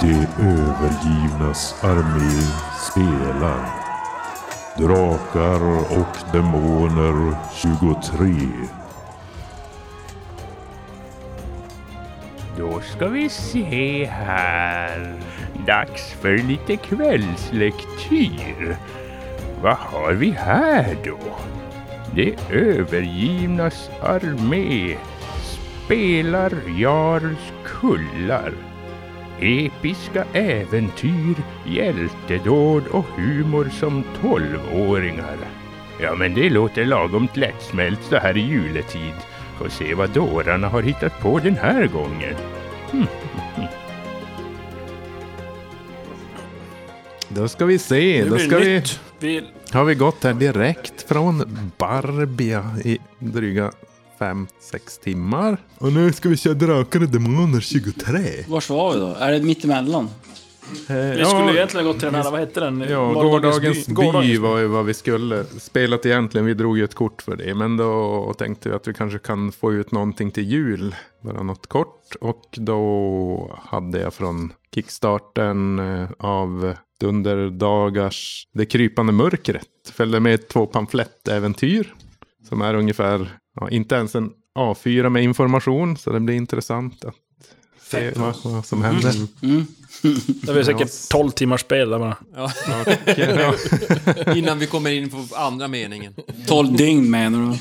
De övergivnas armé spelar. Drakar och demoner 23. Då ska vi se här. Dags för lite kvällslektyr. Vad har vi här då? Det övergivnas armé spelar Jarls kullar. Episka äventyr, hjältedåd och humor som tolvåringar. Ja, men det låter lagom lättsmält så här i juletid. Får se vad dårarna har hittat på den här gången. Då ska vi se. Då blir ska det vi, nytt. Vi, har vi gått här direkt från Barbia i dryga fem sex timmar. Och nu ska vi köra Drakar och Demoner 23. vars var vi då? Är det mittemellan? Vi skulle egentligen gått till den här, vad hette den? Eh, Ja, Morgondagens gårdagens by, gårdagens var ju vad vi skulle spelat egentligen. Vi drog ju ett kort för det. Men då tänkte vi att vi kanske kan få ut någonting till jul. Bara något kort. Och då hade jag från kickstarten eh, av Dunderdagars Det krypande mörkret. Följde med två pamflettäventyr. Som är ungefär, ja, inte ens en A4 med information. Så det blir intressant att se vad, vad som händer. Det blir säkert 12 timmars spel där bara. Ja. Innan vi kommer in på andra meningen. 12 dygn menar du?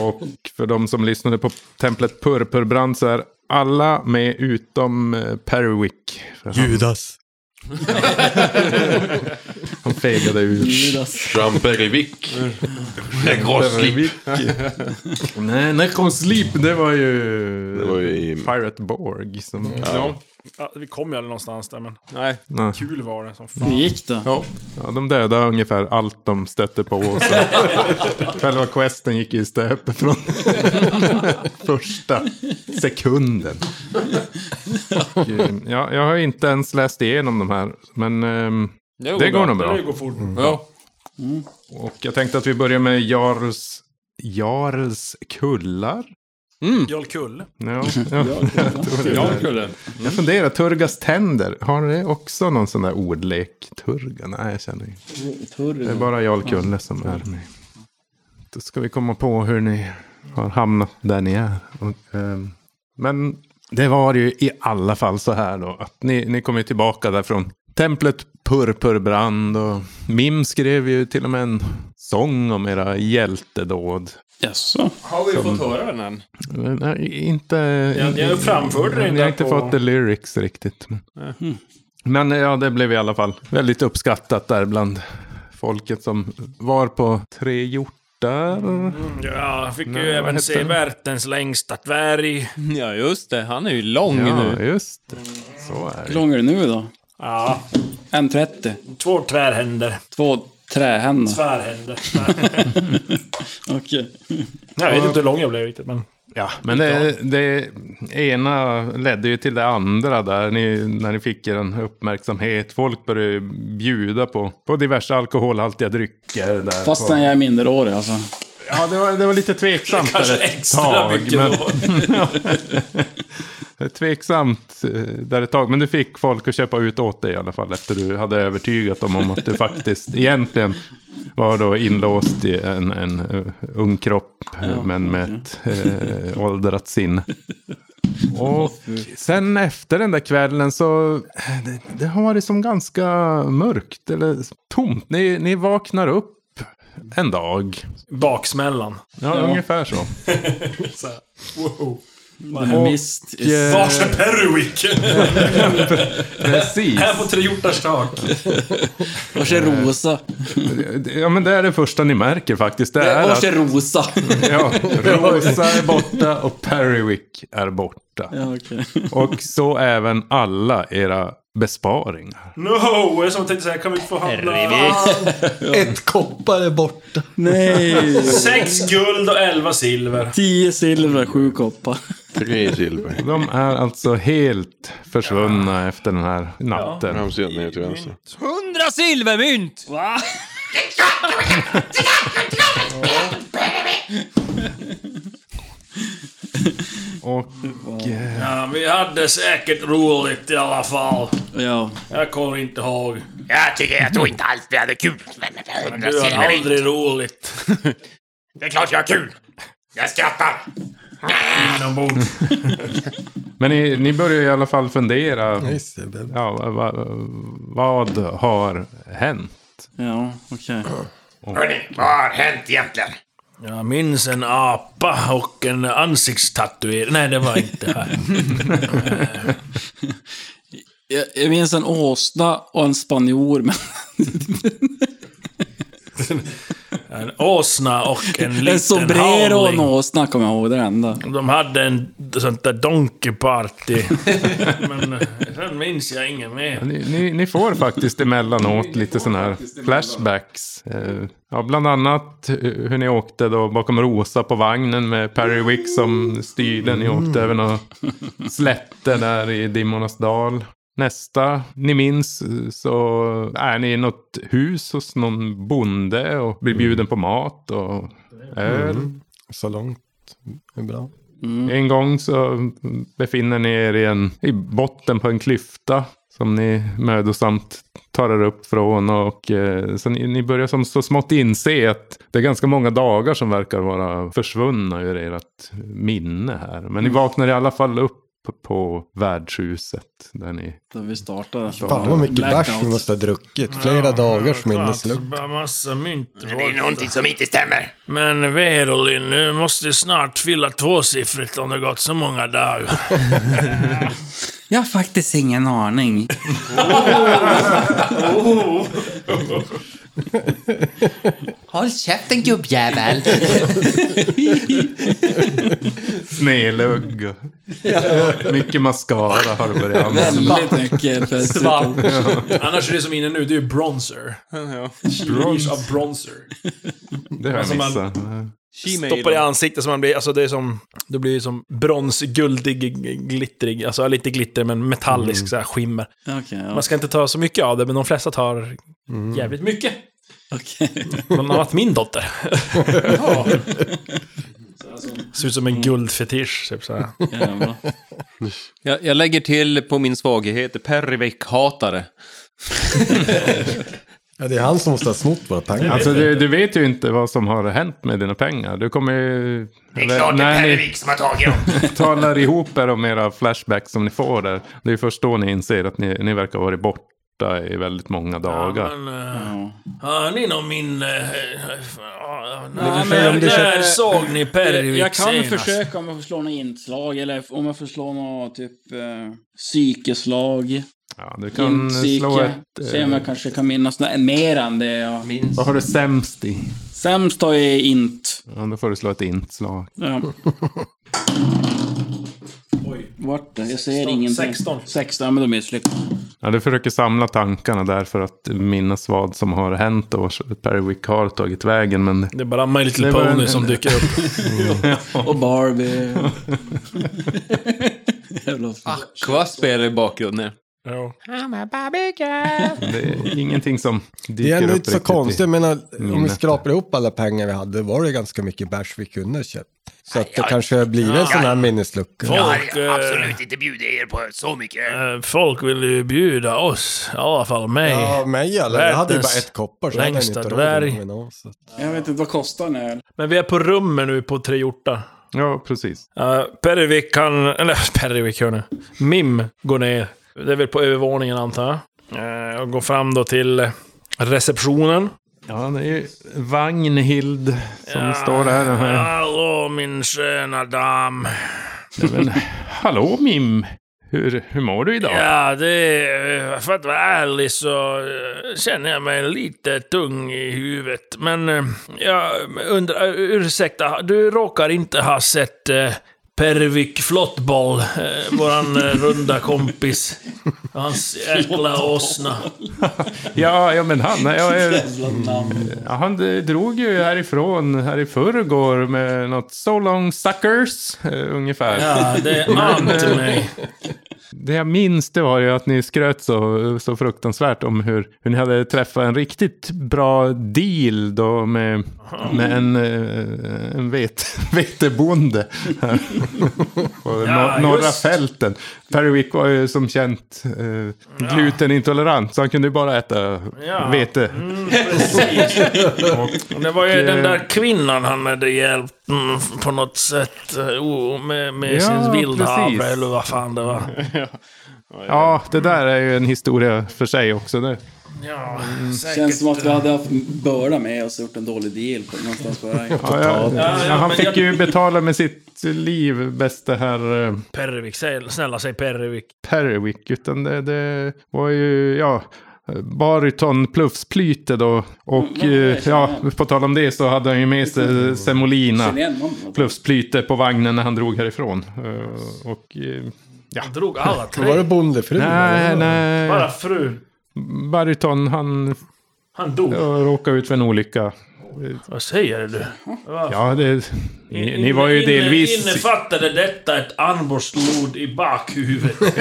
Och för de som lyssnade på templet Purpurbrand så är alla med utom eh, Perwick. För Han, Judas. han fegade ut. Schramperivik. Negroslip. Nej, Necron Sleep, det var ju... Det var ju i... Pirate Borg som... Ja. vi kom ju aldrig någonstans där, men Nej. Nej. kul var det som Hur fan. gick det? Ja, de dödade ungefär allt de stötte på. Och så. Själva questen gick ju i stöpet från första sekunden. Och, eh, ja, jag har inte ens läst igenom de här, men ehm, Det det går nog bra. Det går fort. Ja. Och jag tänkte att vi börjar med Jarls, Jarls kullar. Jarl Kull. Ja, ja, jag tror det. Ja, skulle. Jag funderar, Turgas tänder, har det också någon sån där ordlek? Turga? Nej, jag känner inte. Det är bara Jarl Kulle som är med. Då ska vi komma på hur ni har hamnat där ni är. Och, ehm, men det var ju i alla fall så här då, att ni, ni kom ju tillbaka därifrån. Templet Purpurbrand och Mim skrev ju till och med en sång om era hjältedåd. Jaså? Har vi fått höra den än? Men, nej, inte... Ja, det är ju Mm. framförd Ni har redan inte på- fått the lyrics riktigt. Men, men ja, det blev i alla fall väldigt uppskattat där bland folket som var på tre hjortar. Ja, jag fick Nej, ju vad även hette se den? världens längsta dvärg. Ja, just det. Han är ju lång Ja, nu. Mm, just det. Så är Hur det. lång är det nu då? Ja, 1,30? två tvärhänder. Två trähänder? Tvärhänder. Okej. jag vet inte hur lång jag blev riktigt, men... Ja, men det, det ena ledde ju till det andra där ni, när ni fick er en uppmärksamhet. Folk började bjuda på, på diverse alkoholhaltiga drycker. Där på. Fastän jag är minderårig alltså. Ja, det var, det var lite tveksamt där ett tag. Men... Det är tveksamt eh, där ett tag, men du fick folk att köpa ut åt dig i alla fall efter du hade övertygat dem om att du faktiskt egentligen var då inlåst i en, en eh, ung kropp eh, men med ett eh, åldrat sinne. Och sen efter den där kvällen så eh, det, det har varit som ganska mörkt eller tomt. Ni, ni vaknar upp en dag. Baksmällan. Ja, ungefär så. En mist. Eh, Vars är Perwick? Precis. Här på Tre Hjortars tak. Vars är rosa? Ja, men det är det första ni märker faktiskt. Det är att Vars är rosa? ja, Rosa är borta och Perrywick är borta. Ja, okej. Och så även alla era besparingar. No! Jag är som tänkte säga, kan vi få handla... Ett koppar är borta. Nej! Sex guld och elva silver. Tio silver, sju koppar. Tre silver. De är alltså helt försvunna efter den här natten. Framsidan ner till vänster. Hundra silvermynt! Och Ja, vi hade säkert roligt i alla fall. Ja. Jag kommer inte ihåg. Jag tycker, jag tror inte alls vi hade kul. Du har aldrig roligt. Det är klart jag har kul. Jag skrattar. Men ni, ni börjar i alla fall fundera. Just det, Bebbe. Ja, va, va, vad har hänt? Ja, okej. Hörni, vad har hänt egentligen? Jag minns en apa och en ansiktstatuering. Nej, det var inte här. Jag, jag minns en åsna och en spanjor, men En åsna och en en liten sombrero och en havling. åsna kommer jag ihåg, det är det enda. De hade en sånt där donkey party. Men eh, sen minns jag inget mer. Ni, ni, ni får faktiskt emellanåt lite sådana här flashbacks. Eh, Ja, bland annat eh, hur ni åkte då bakom Rosa på vagnen med Perry Wick som styrde. Ni åkte över något slätte där i Dimmornas dal. Nästa ni minns eh, så är ni i något hus hos någon bonde och blir bjuden på mat och öl. Så långt är bra. Mm. En gång så befinner ni er i, en, i botten på en klyfta som ni mödosamt tar er upp från. Och, eh, så ni, ni börjar som så smått inse att det är ganska många dagar som verkar vara försvunna ur ert minne här. Men ni Mm. vaknar i alla fall upp på värdshuset. Där ni... Där vi startade. Fan vad mycket Blackout. bärs vi måste ha druckit. Flera dagars minneslukt. Bara massa mynt. Det är någonting som inte stämmer. Men Verolin, nu måste du snart fylla tvåsiffrigt om det gått så många dagar. Jag har faktiskt ingen aning. Håll käften gubbjävel. Snelugg. Mycket mascara har du börjat använda. Väldigt mycket. för- Annars är det som är inne nu, det är ju bronzer. Brons av bronzer. Det har Alltså, jag missat. Stoppar i ansiktet så man blir, alltså det är som, du blir som bronsguldig, g- glittrig, alltså lite glitter men metallisk så här skimmer. Okej, ja. Man ska inte ta så mycket av det, men de flesta tar jävligt mycket. Okej. Bland annat min dotter. Ser ut som en guldfetisch, typ så här. Jävlar. Jag, jag lägger till på min svaghet, Perrivik-hatare. Ja, det är han som måste ha snott våra pengar. Alltså du, du vet ju inte vad som har hänt med dina pengar. Du kommer ju... Det är klart det är när ni- Perrevik som har tagit dem. talar ihop er om era flashbacks som ni får där. Det är först då ni inser att ni, ni verkar ha varit borta i väldigt många dagar. Men, eh, Har ni någon minne? Nej, men men när det känns- såg ni Pervik Jag kan senast? försöka om jag får slå något inslag eller om jag får slå något typ eh, psykeslag. Ja, du kan slå Inpsyke. ett... Se om eh, jag kanske kan minnas något mer än det jag... Vad har du sämst i? Sämst har jag int. Ja, då får du slå ett inslag. Ja. Vart det? Jag ser ingenting. 16. 16, ja, men då misslyckas Ja, du försöker samla tankarna där för att minnas vad som har hänt och så- Perry Wick har tagit vägen. Men Det är bara My Little Det var Pony en- som dyker upp. Och Barbie. Jävla fan. Aqua spelar i bakgrunden. Ja. det är ingenting som dyker Det är ändå upp inte så riktigt i- konstigt. Jag menar, om vi minnet. skrapar ihop alla pengar vi hade var det ganska mycket bärs vi kunde ha köpt. Så att det kanske blir en sån här minneslucka. Jag Folk, har eh, absolut inte bjudit er på så mycket. eh, folk vill ju bjuda oss, i alla fall mig. Ja, mig i alla fall. Jag hade ju bara Världens ett koppar så hade jag längsta inte råd dvärg. med någon. Så. att- Jag vet inte, vad kostar en öl? Men vi är på rummet nu på Tre Hjortar. Ja, precis. Uh, Pervik kan... Eller Pervik, hör nu. Mim går ner. Det är väl på övervåningen, antar jag. Eh, och går fram då till receptionen. Ja, det är ju Vagnhild som står där. Den här Ah, Hallå min sköna dam. Men, hallå Mim! Hur, hur mår du idag? Ja, det... eh, För att vara ärlig så eh, känner jag mig lite tung i huvudet. Men eh, jag undrar... eh, Ursäkta, du råkar inte ha sett eh, Pervik Flottboll, eh, våran eh, runda kompis. Hans jäkla åsna. Ja, ja men han, jag är, Jävla namn. ja, han eh, drog ju härifrån här i förrgår med något So long suckers eh, ungefär. Ja, det är namn till mig. Det jag minns det var ju att ni skröt så, så fruktansvärt om hur, hur ni hade träffat en riktigt bra deal då med, med en, eh, en vet, vetebonde. här På Ja, nor- norra just. fälten. Perwick var ju som känt eh, glutenintolerant så han kunde ju bara äta Ja. vete. Det var ju eh, den där kvinnan han hade hjälpt mm, på något sätt. eh, Oh, med med Ja, sin precis. vildhavre eller vad fan det var. Ja, det där är ju en historia för sig också. Det. Ja, Känns säkert. som att vi hade haft börda med oss och gjort en dålig deal på, någonstans på vägen. Ja, jag, Ja, ja, han men fick jag- ju betala med sitt liv, bäste herr eh, Pervik, säg- snälla säg Pervik. Perwick. Utan det, det var ju, ja, baryton pluffsplyte då. Och Mm, eh, jag känner ja, på tal om det så hade han ju med sig Semolina. Känner igen någon? Pluffsplyte på vagnen när han drog härifrån. Eh, Och... eh, Ja. Han drog alla Var det tre. bondefrun? Nej, Bara nej. frun. Baryton, han Han dog. ja, råkade ut för en olycka. Vad säger du? Ja, det... Ni, ni var ju Inne- delvis... Innefattade detta ett armborstlod i bakhuvudet?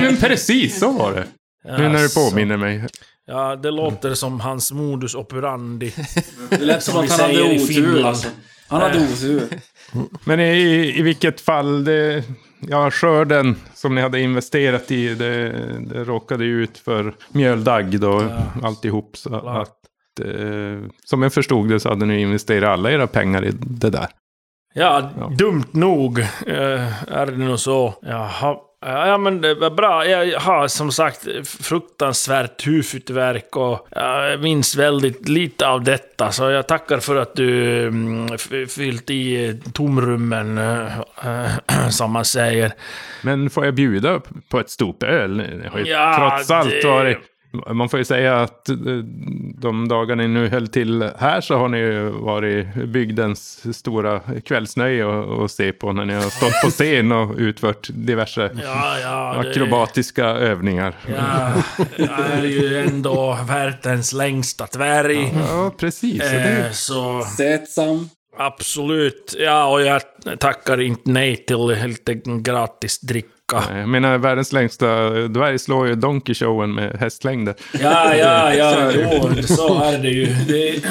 Men Precis, så var det. Nu när du Alltså. påminner mig. Ja, det låter som hans modus operandi. Det lät som Som att vi han hade säger i Finland. otur alltså. Han hade otur. Men i, i vilket fall, det, ja, skörden som ni hade investerat i, det, det råkade ju ut för mjöldagg då, alltihop. Så klart. att, eh, som jag förstod det så hade ni investerat alla era pengar i det där. Ja, Ja. dumt nog eh, är det nog så. Jaha. Ja men det var bra. Jag har som sagt fruktansvärt huvudvärk och jag minns väldigt lite av detta. Så jag tackar för att du mm, f- fyllt i eh, tomrummen, eh, som man säger. Men får jag bjuda upp på ett stort öl? Det har ju Ja, trots allt det- varit... Man får ju säga att eh, de dagar ni nu höll till här så har ni ju varit bygdens stora kvällsnöje att att se på när ni har stått på scen och utfört diverse Ja, ja. det- akrobatiska övningar. Ja, jag är ju ändå världens längsta dvärg. Ja, precis. Och Eh, det, så... Sätsam. Absolut. Ja, och jag tackar inte nej till lite gratis dricka. jag menar, världens längsta dvärg slår ju Donkey Showen med hästlängder. Ja, ja, ja, jo, så är det ju. Det,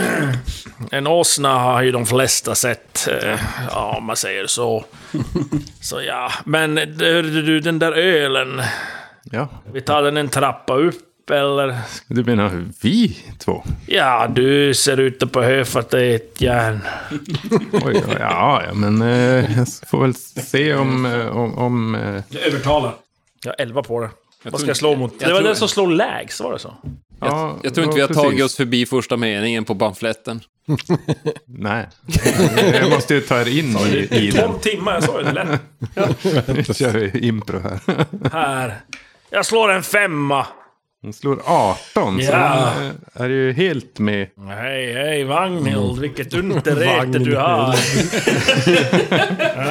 en åsna har ju de flesta sett, eh, ja, om man säger så. Så ja, men hörde du, den där ölen, Ja, vi tar den en trappa upp, eller? du menar vi två? Ja, du ser ut att behöva dig ett järn. Oj, ja, ja, men eh, jag får väl se om... eh, om, om eh, Jag övertalar. Jag har elva på det. Vad ska jag slå mot? det var tror- den som slog lägst, var det så? ja, Jag tror inte ja, vi har precis. tagit oss förbi första meningen på pamfletten. Nej. Jag måste ju ta er in i, i den. 12 timmar, jag sa ju det lätt. Nu kör vi impro här. Här. Jag slår en femma. Hon slår 18, så Ja. hon eh, är ju helt med. Hej, hej Vagnhild, Mm. vilket underrete du har.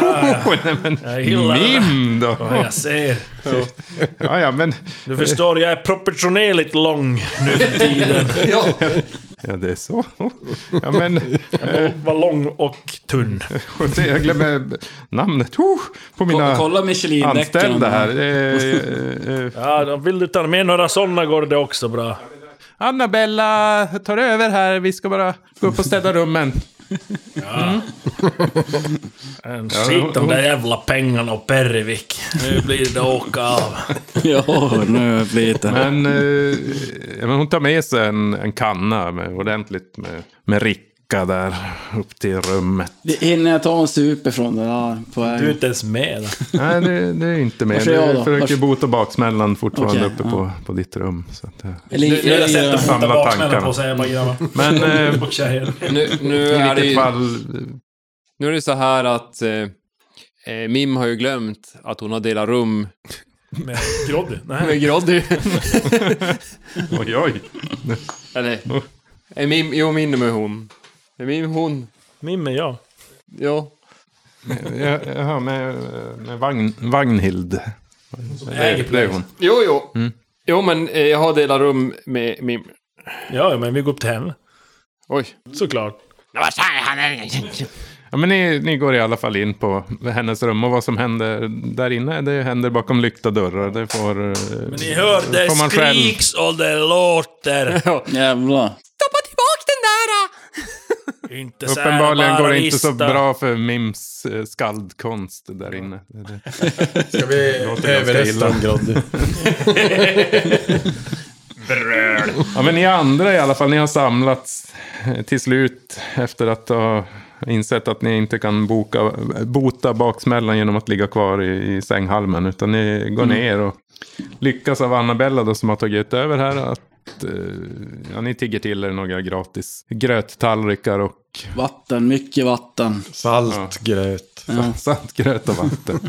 Åh, nej, men, Jag gillar det. Mim då! Ja, jag ser. Ja, ja, men... Du förstår, jag är proportionerligt lång nu för tiden. Ja, det är så. Ja, men... eh, Var lång och tunn. José, jag glömmer namnet oh, på mina Kolla Michelin-däcken. anställda här. Eh, eh, eh, Ja, då vill du ta med några sådana går det också bra. Annabella tar över här. Vi ska bara gå upp och städa rummen. En skit de där jävla pengarna och Pervik. Nu blir det åka av. Ja, nu blir det... Men, eh, ja, men hon tar med sig en, en kanna med, ordentligt med, med Ricka där upp till rummet. Det hinner jag ta en sup ifrån det där på Du är vägen. inte ens med. Nej, det, det är inte med. Varför är jag Du då? försöker Varför- bota baksmällan fortfarande Okej, uppe på, på ditt rum. Så att, eh. Eller, Nu har jag sett jag, dig fota Samla baksmällan tankarna. på sig, jag bara grabbar. Men eh, Och tjejer. Nu, nu, i är, det vilket ju, fall, nu är det så här att eh, eh, Mim har ju glömt att hon har delat rum Med Groddy. Nej. med Groddy. oj oj. Eller, är Mim, jo Mim är hon. Är Mim hon? Mim är jag. Ja. Ja, Jaha, med, med vagn, Vagnhild. Det, det är hon. Jo, jo. Jo, men eh, jag har delat rum med Mim. Ja, men vi går upp till henne. Oj. Såklart. Men vad sa jag? Han är... Ja, men ni, ni går i alla fall in på hennes rum och vad som händer där inne, det händer bakom lyckta dörrar. Det får, eh, men Ni hör det skriks och det låter. Jävlar. Stoppa tillbaka den där! Inte så här Uppenbarligen bara går det inte så lista. bra för Mims eh, skaldkonst där inne. Det- det- Ska vi Låter ganska illa. överrösta om Groddy? Bröl. Ja, men ni andra i alla fall, ni har samlats eh, till slut efter att ha insett att ni inte kan boka, bota baksmällan genom att ligga kvar i, i sänghalmen. Utan ni går Mm. ner och lyckas av Annabella då, som har tagit över här att eh, ja, ni tigger till er några gratis gröttallrikar och... Vatten, mycket vatten. Salt gröt. Ja. Salt gröt och vatten.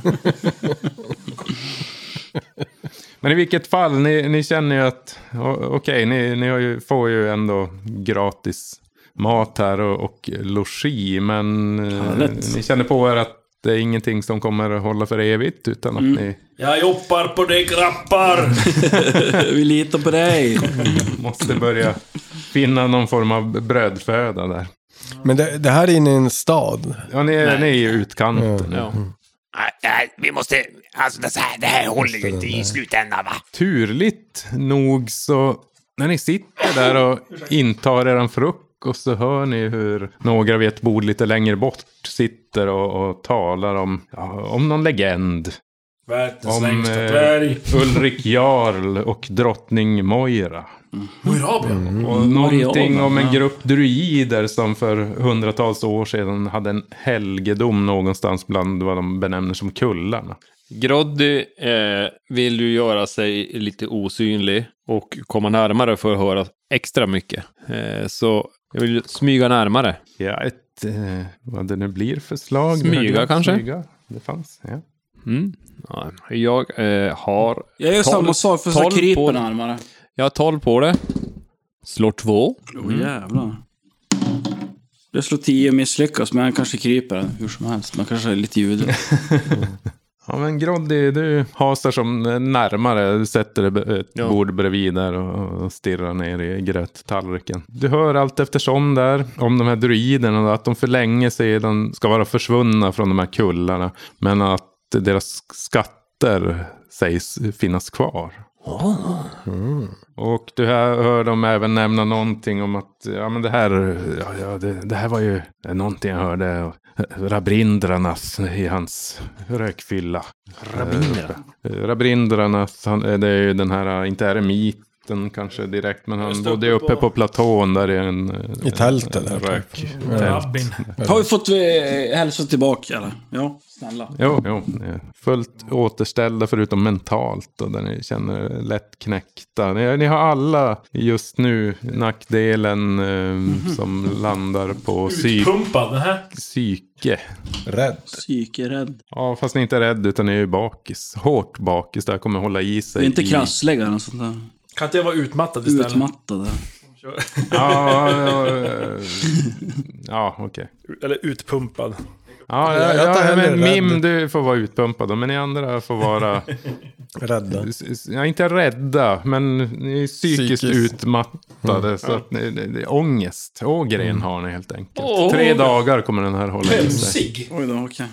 Men i vilket fall, ni, ni känner ju att o- okej, ni, ni har ju, får ju ändå gratis mat här och, och logi. Men eh, Härligt. ni känner på er att det är ingenting som kommer att hålla för evigt. Utan att ni Jag joppar på dig grappar. Vi litar på dig. måste börja finna någon form av brödföda där. Men det, det här är inne i en stad. Ja, ni är, ni är i utkanten. Ja. Nej, nej, vi måste... Alltså det här, det här håller ju inte i slutändan va? Turligt nog så när ni sitter där och intar er frukost så hör ni hur några vid ett bord lite längre bort sitter och, och talar om, ja, om någon legend. Världens Om längsta eh, dvärg. Ulrik Jarl och drottning Moira. Morabia. Mm. Och någonting Moriana, om en ja. grupp druider som för hundratals år sedan hade en helgedom någonstans bland vad de benämner som kullarna. Groddy eh, vill ju göra sig lite osynlig och komma närmare för att höra extra mycket. Eh, så jag vill smyga närmare. Ja, ett, eh, vad det nu blir för slag. Smyga kanske? Smyga. Det fanns, ja. Mm. Ja, jag eh, har... Jag gör tolv- samma sak för så tolv kryper på- närmare. Jag har 12 på det. Slår två. Åh jävlar. Jag slår 10 och misslyckas, men han kanske kryper hur som helst. Man kanske är lite ljudlig. Ja men Groddy, du hasar som närmare, sätter dig ett Ja. bord bredvid där och stirrar ner i gröttallriken. Du hör allt eftersom där om de här druiderna, då, att de för länge sedan ska vara försvunna från de här kullarna. Men att deras skatter sägs finnas kvar. Och du här hör dem även nämna någonting om att ja, men det, här, ja, ja, det, det här var ju någonting jag hörde. eh, Rabindranas i hans rökfylla. Rabindra? Eh, Rabindranas, han, eh, det är ju den här, eh, inte eremiten kanske direkt, men han bodde ju uppe på platån där i en... eh, I tält en eller? Rök. Ja. eh, Rabbin. Har vi fått eh, hälsa tillbaka eller? Ja, snälla. Jo, jo. ni är Fullt återställda förutom mentalt och där ni känner er lätt knäckta. Ni, ni har alla just nu nackdelen eh, som landar på psyk, Utpumpad, det här. psyke. Rädd. Psykerädd. Ja, fast ni är inte rädd utan ni är ju bakis. Hårt bakis. Det här kommer hålla i sig. Vi är inte i- krassliga eller något sånt där. Kan inte jag vara utmattad istället? Utmattade. Ja, ja, ja, ja okej. Eller utpumpad. Ja, Jag ja, är inte ja, heller men rädd. Mim, du får vara utpumpad. då, Men ni andra får vara... rädda. Ja, inte rädda, men ni är psykiskt Psykiskt. utmattade. Mm. Så att ni, det- det är ångest. Ågren har ni helt enkelt. Åh. Tre dagar kommer den här hålla i sig. Oj då, okej.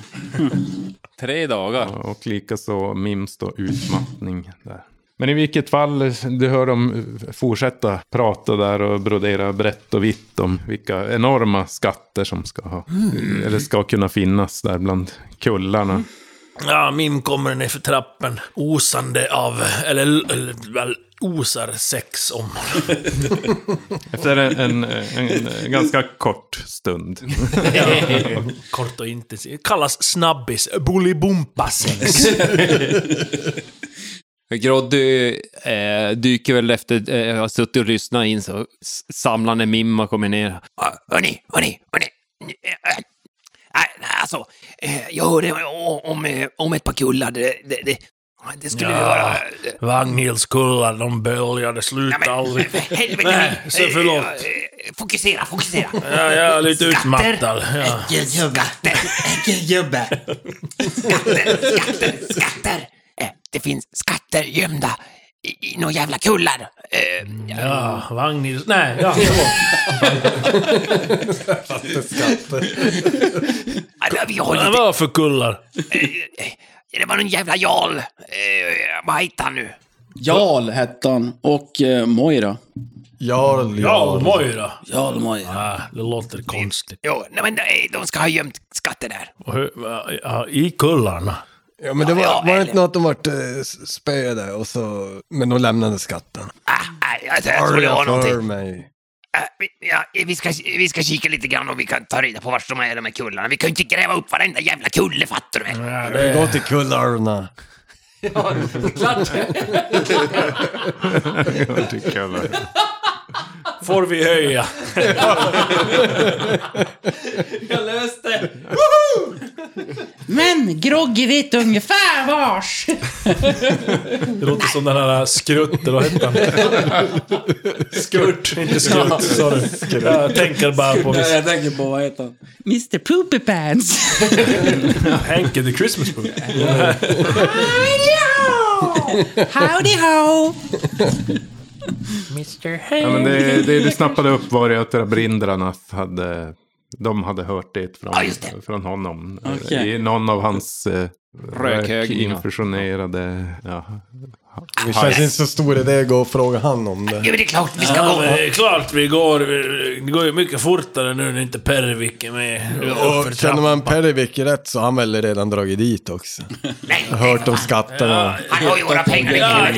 Tre dagar. Ja, Och likaså Mims då utmattning där. Men i vilket fall, du hör dem fortsätta prata där och brodera brett och vitt om vilka enorma skatter som ska ha, Mm. eller ska kunna finnas där bland kullarna. Ja, Mim kommer ner för trappen. Osande av, eller, eller väl, osar sex om. Efter en, en, en ganska kort stund. Kort och intensivt. Kallas snabbis. Bolibompa sex. Groddy eh, dyker väl efter, eh, jag har suttit och lyssnat in, så s- samlar när Mimma kommer ner. Ja, Hörni, hörni, hörni. Eh, eh, Nej, alltså. eh, Jag hörde o- om, eh, om ett par kullar. Det, det, det, det skulle ju vara... Ja, Vagnhildskullar, de böljade, sluta aldrig. Helvete, Nej, hörni. så förlåt. Eh, eh, Fokusera, fokusera. Ja, jag är lite utmattad. Ja. Äckelgubbe. Äckelgubbe. Skatter, skatter, skatter. Eh, Det finns skatter gömda i, i några jävla kullar. Eh, Ja, Vagnhild... Nej, ja, förlåt. ja, det- vi har Vad lite... var för kullar? eh, Det var någon jävla jarl. Eh, vad heter han nu? Jarl hette han. Och eh, Moira. Jarl, Ja, Moira. Jarl Moira. Ah, det låter konstigt. Jo, nej, men nej, de ska ha gömt skatter där. Och hur- ja, I kullarna? Ja, men det var, Ja, var det eller- inte något de vart eh, s- spöade och så... Men de lämnade skatten. Ah, nej, jag, jag, jag tror det jag var för någonting. mig. Ah, vi, ja, vi, ska, vi ska kika lite grann om vi kan ta reda på vart de är, de här kullarna. Vi kan ju inte gräva upp varenda jävla kulle, fattar du väl? Ja, Vi det, går till kullarna. Jag tycker jag väl. får vi höja. Jag löste! Men Groggy vet ungefär vars. Det låter som den här skrutten, vad hette han? Skurt, inte skrutt. Sorry. Jag tänker bara på Jag tänker på, vad heter han? Mr Poopy Pants. Henke the Christmas Book. Howdy ho! Howdy ho! Ja, men det, det du snappade upp var ju att Rabindranath hade... De hade hört det från, Ja, just det. från honom. Okej. I någon av hans eh, Rökhög, ja. infusionerade... Ja. Det känns inte så stor idé att gå och fråga han om det. Ja, men det är klart vi ska Ja, gå. men det är klart vi går. Det går ju mycket fortare nu när inte Pervik är med. Uppför Och känner trappan. man Perivik rätt så har han väl redan dragit dit också. Nej, Hört om skatterna. han har ju våra pengar. det Ja, är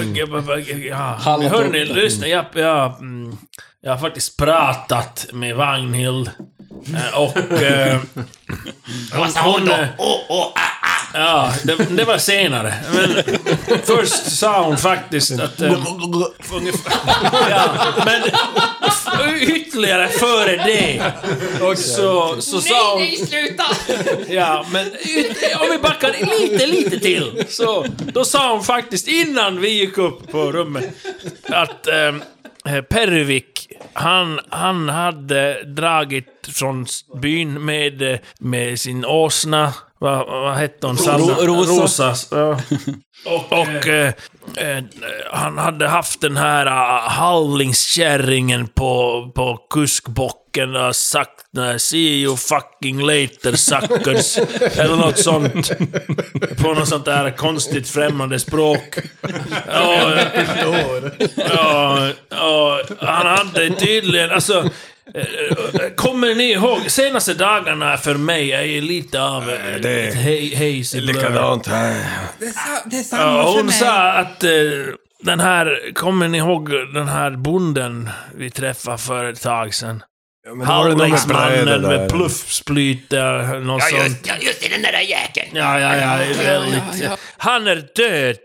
kul. ja, ja, ja. Hallå, Hörni, Peter. lyssna. Jag, jag, mm, jag har faktiskt pratat med Vagnhild. Eh, Och... eh, Vad sa hon eh, då? Åh, åh, ah, ah. Ja, det, det var senare. Men först sa hon faktiskt att... eh, ungefär, ja, men f- ytterligare före det så, så sa hon... sluta! Ja, men yt- om vi backar lite, lite till. Så, då sa hon faktiskt innan vi gick upp på rummet att eh, Pervik, han, han hade dragit från s- byn med, eh, med sin åsna. Vad vad hette hon? Sanna? Ro- Rosa. s- ja. Och, och eh, eh, han hade haft den här uh, hallingskärringen på, på kuskbocken och sagt eh, “See you fucking later suckers” eller något sånt. På något sånt där konstigt främmande språk. Ja, eh, Ja, ja, han hade tydligen, alltså... eh, Kommer ni ihåg? Senaste dagarna för mig är ju lite av eh, det- ett hej, hejs i blöd. Likadant här. Det är, sa- det är samma Ja, för hon mig. sa att eh, den här, kommer ni ihåg den här bonden vi träffade för ett tag sedan? Ja, men då var det någon med bräder Hallingsmannen med där. pluffsplyte, något Ja, sånt. just, ja, just det, den där jäkeln. Ja, ja, ja, det är väldigt... ja. Han är död.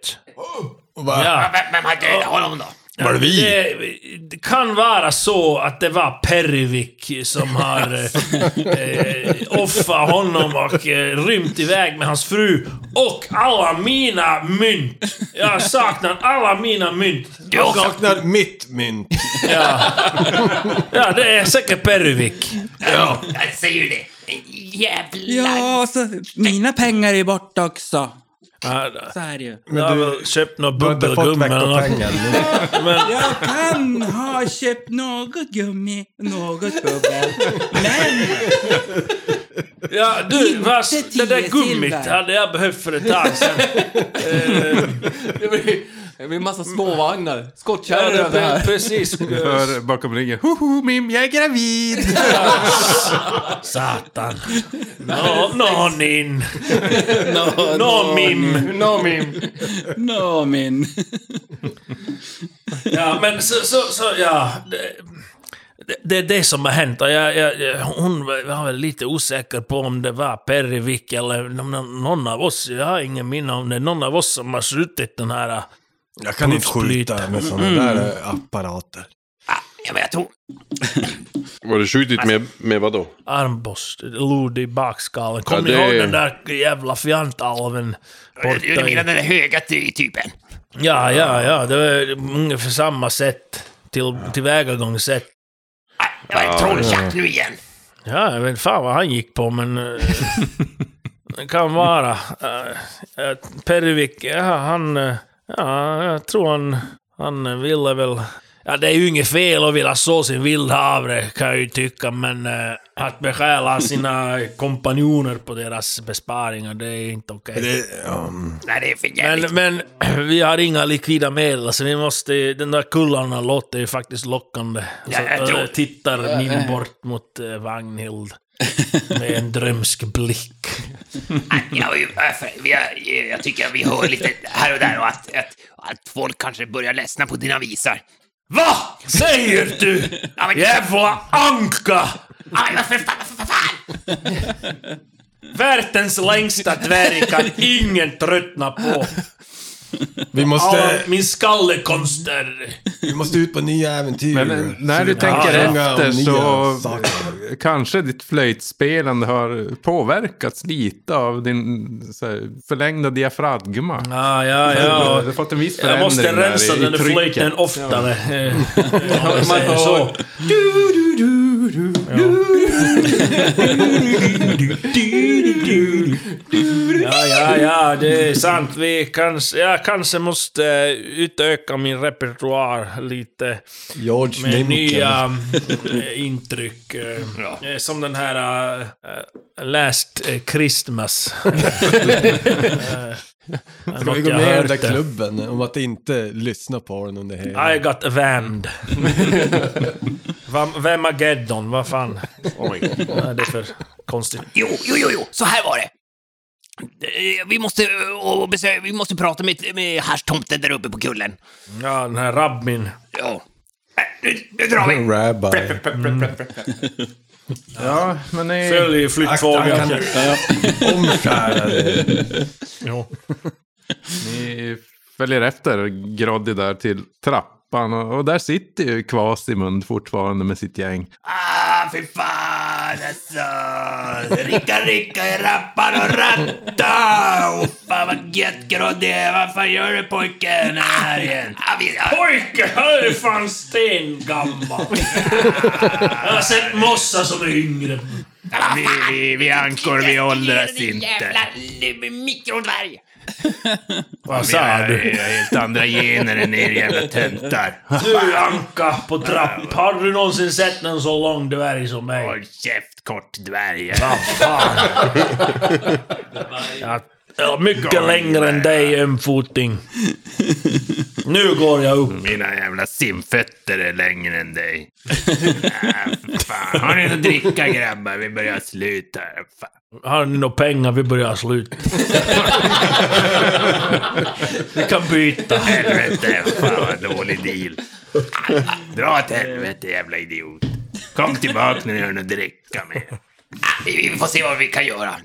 Och bara, Ja. Vem, vem har dödat honom då? Var det vi? Det, det kan vara så att det var Pervik som har eh, eh, offrat honom och eh, rymt iväg med hans fru. Och alla mina mynt! Jag saknar alla mina mynt. Du Jag också? saknar mitt mynt. Ja, ja det är säkert Pervik. Ja. Jag säger ju det. Jävlar. Ja, så, mina pengar är borta också. Ja, Så är det ju. jag har väl köpt några Du har inte fått bubbelgummi eller något. veckopengen. Jag kan ha köpt något gummi, något bubbel. Men Ja, du, Inte vars, det där tio gummit silver. hade jag behövt för ett tag sedan. Det blir, det blir massa småvagnar. Ja, Skottkärror det, över här. precis. Hör bakom ryggen. Hoho, Mim, jag är gravid! Satan. Nå, nånin. Nå, mim. No, mim. No, min. Ja, men så, så, så ja. Det, det, det är det som har hänt. Och jag, jag, jag- hon var väl lite osäker på om det var Perivik eller någon någon av oss. Jag har ingen minne om det. Någon av oss som har skjutit den här... Jag kan inte Pluppsplyte. skjuta med sådana där eh, apparater. Ah, Ja, men jag tror... Var det skjutit med, med vadå? armborst, lod i bakskallen. Kommer Ja, ni det- ihåg den där jävla fjantalven? Jag- borta Jag menar i- den där höga ty- typen. Ja, ja, ja, det var ungefär samma sätt. Till, tillvägagångssätt. Ah, Det var en trolltjack nu igen. Ja, jag vet fan vad han gick på, men... eh, det kan eh, vara. Uh, Pervik, ja, han... eh, ja, eh, jag tror han... Han ville väl... Ja, det är ju inget fel att vilja så sin vilda havre, kan jag ju tycka, men eh, att bestjäla sina kompanjoner på deras besparingar, det är inte okej. Nej, det är för jävligt. Men, men vi har inga likvida medel, så vi måste... Den där kullarna låter ju faktiskt lockande. Ja, Så jag tror- eh, tittar min Ja. bort mot eh, Vagnhild med en drömsk blick. Nej, jag, äh, jag, jag, jag tycker vi hör lite här och där och att, att, att folk kanske börjar ledsna på dina visar. Va? Säger du? Jävla anka! Aj, vad för fan! Världens längsta dvärg kan ingen tröttna på. Vi Alla måste, min skallekonst är... vi måste ut på nya äventyr. Men eh, när du Så- tänker Ja, många efter och nya så saker. kanske ditt flöjtspelande har påverkats lite av din så här, förlängda diafragma. Ja, Ah, ja, ja. Du har fått en viss Jag förändring måste där rensa i- i den där trycket. flöjten oftare. eh, Om Man man säger hör- så. Ja, ja, ja, det är sant. Vi kanske, jag kanske måste eh, utöka min repertoar lite. George Med Limken. nya eh, intryck. eh, eh, Som den här eh, eh, Last eh, Christmas. Ska vi något gå jag med i den där hört det. klubben om att inte lyssna på den under hela... I got vanned. Vam- Vemageddon, vad fan? Oj. Vad är det för konstigt? Jo, jo, jo, jo, så här var det. Eh, Vi måste, eh, och besö- vi måste prata med, med haschtomten där uppe på kullen. Ja, den här Rabbin. Ja. Eh, Nu, nu drar vi! Rabbi. Prepp, prepp, prepp, prepp, prepp. Ja, men ni... Följ flyttfågeln. Omskärare. Jo. Ni följer efter Groddy där till trappan och, och där sitter ju Kvasimund fortfarande med sitt gäng. Ah, fy fan alltså! Ricka, ricka i rappan och ratta! Oh, fan vad gött Groddy är! Vad fan gör du pojken här igen? Ah, vi, ah, Pojke, han är fan stengammal. Jag har sett mossa som är yngre. Vi, vi, vi ankor, vi åldras inte. Jävla li- mikrodvärg! Vad sa du? Helt andra gener än er jävla töntar. Du Anka på trapp. Har du någonsin sett en så lång dvärg som mig? Håll käft kort dvärg. Vad fan? Jag- Jag är mycket längre än dig, ömfoting. Nu går jag upp. Mina jävla simfötter är längre än dig. Ah, fan. Har ni något att dricka grabbar? Vi börjar sluta här. Fan. Har ni några pengar? Vi börjar slut. Vi kan byta. Helvete, fan vad dålig deal. Ah, Dra åt helvete jävla idiot. Kom tillbaka när ni har något att dricka med. Ah, Vi får se vad vi kan göra.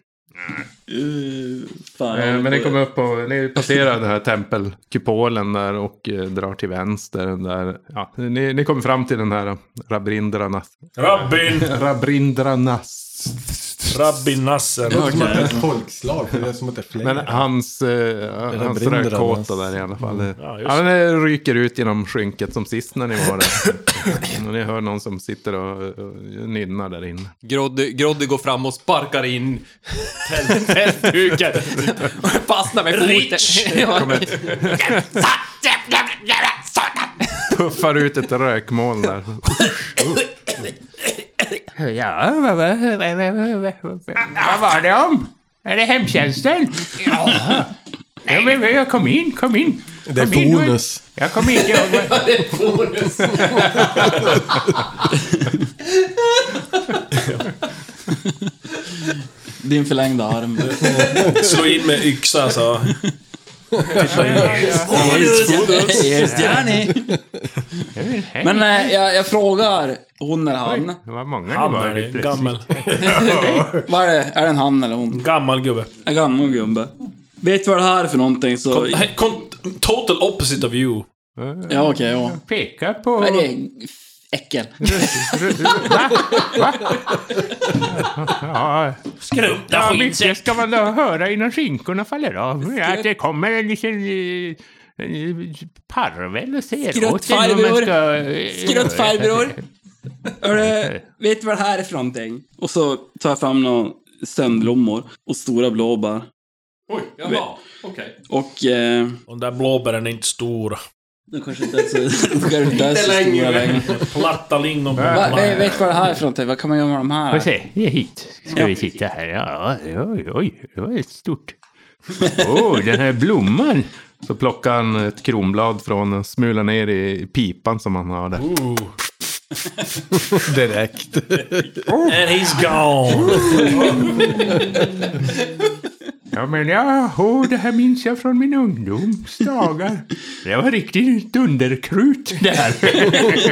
Eh, Men ni kommer upp och ni passerar den här tempelkupolen där och eh, drar till vänster. Där, ja, ni, ni kommer fram till den här Rabrindranath. Rabbin! Rabrindranath. Rabbin Nasser. Det låter som att det är ett folkslag. för Det är som att det är fler. Men hans, eh, hans Rabrindranath. rödkåta där i alla fall. Mm. eh, Ja, just han eh, ryker ut genom skynket som sist när ni var där. och ni hör någon som sitter och, och nynnar där inne. Groddy, Groddy går fram och sparkar in tält- tältduken. Och fastnar med foten. Rich. Ja. Jävla, jävla satan! Puffar ut ett rökmoln där. Ja, vad, vad, vad, vad, vad, vad, vad, vad var det om? Är det hemtjänsten? Ja, men, men, jag kom in, kom in. Det är Kom in, bonus. Jag kommer inte ihåg vad... Din förlängda arm. Slå in med yxa så. Yes, Danny. Men eh, jag, jag frågar hon eller han. Det var många Han det är var det, lite. gammal. Vad är det? Är det en han eller hon? Gammal gubbe. En gammal gubbe. Vet du vad det här är för någonting så... Kon- he- kon- Total opposite of you. Ja, okej, ja. Peka på... Vad är det? Äckel. Ja, Skrumta ja, skit. mycket ska man då höra innan skinkorna faller av. Att det kommer en liten... eh, en Parvel och ser åt en hur man Skruttfarbror. ska... eh, Skruttfarbror. Hörru, vet du vad det här är för någonting? Och så tar jag fram några sömnblommor och stora blåbär. Oj, jaha. Okej. Och... Eh, De där blåbären är inte stora. De kanske inte är så, de kanske inte är så stora längre. Platta lingon på Va, vet, vet vad det här är för någonting? Vad kan man göra med de här? Får se, det är hit. Ska vi sitta här? Ja, oj, oj, det var ett stort. Åh, den här blomman! Så plockar han ett kronblad från och smular ner i pipan som han har där. Direkt. And he's gone! Ja, men ja, oh, det här minns jag från min ungdoms dagar. Det var riktigt dunderkrut det här.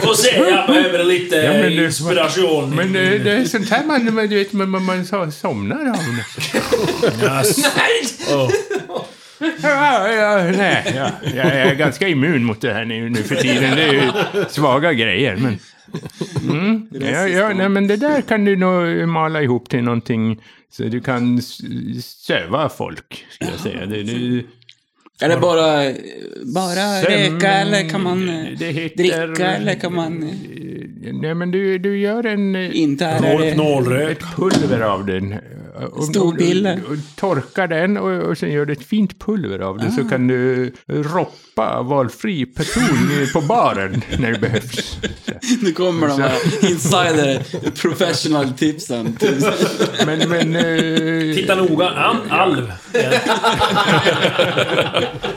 Får se, jag behöver lite Ja, men det- inspiration. Men eh, det är sånt här man, man, du vet, man, man, man så- somnar av. Oh. Ja, ja, nej, ja, jag är ganska immun mot det här nu, nu för tiden. Det är ju svaga grejer. Men, mm, ja, ja, nej, men det där kan du nog mala ihop till någonting så du kan s- söva folk, skulle jag säga. Det, det, Är det bara, bara Sömn- röka eller kan man eh, dricka eller kan man... eh, Nej, men du, du gör en... eh, Inte här är det- Rohypnol-rök. Ett pulver av den. eh, och- Stor bille. och- och Torkar den och, och sen gör du ett fint pulver av det så kan du roppa valfri person på baren när det behövs. Nu kommer de här insider professional tipsen. Men, men... eh, Titta noga. An, alv.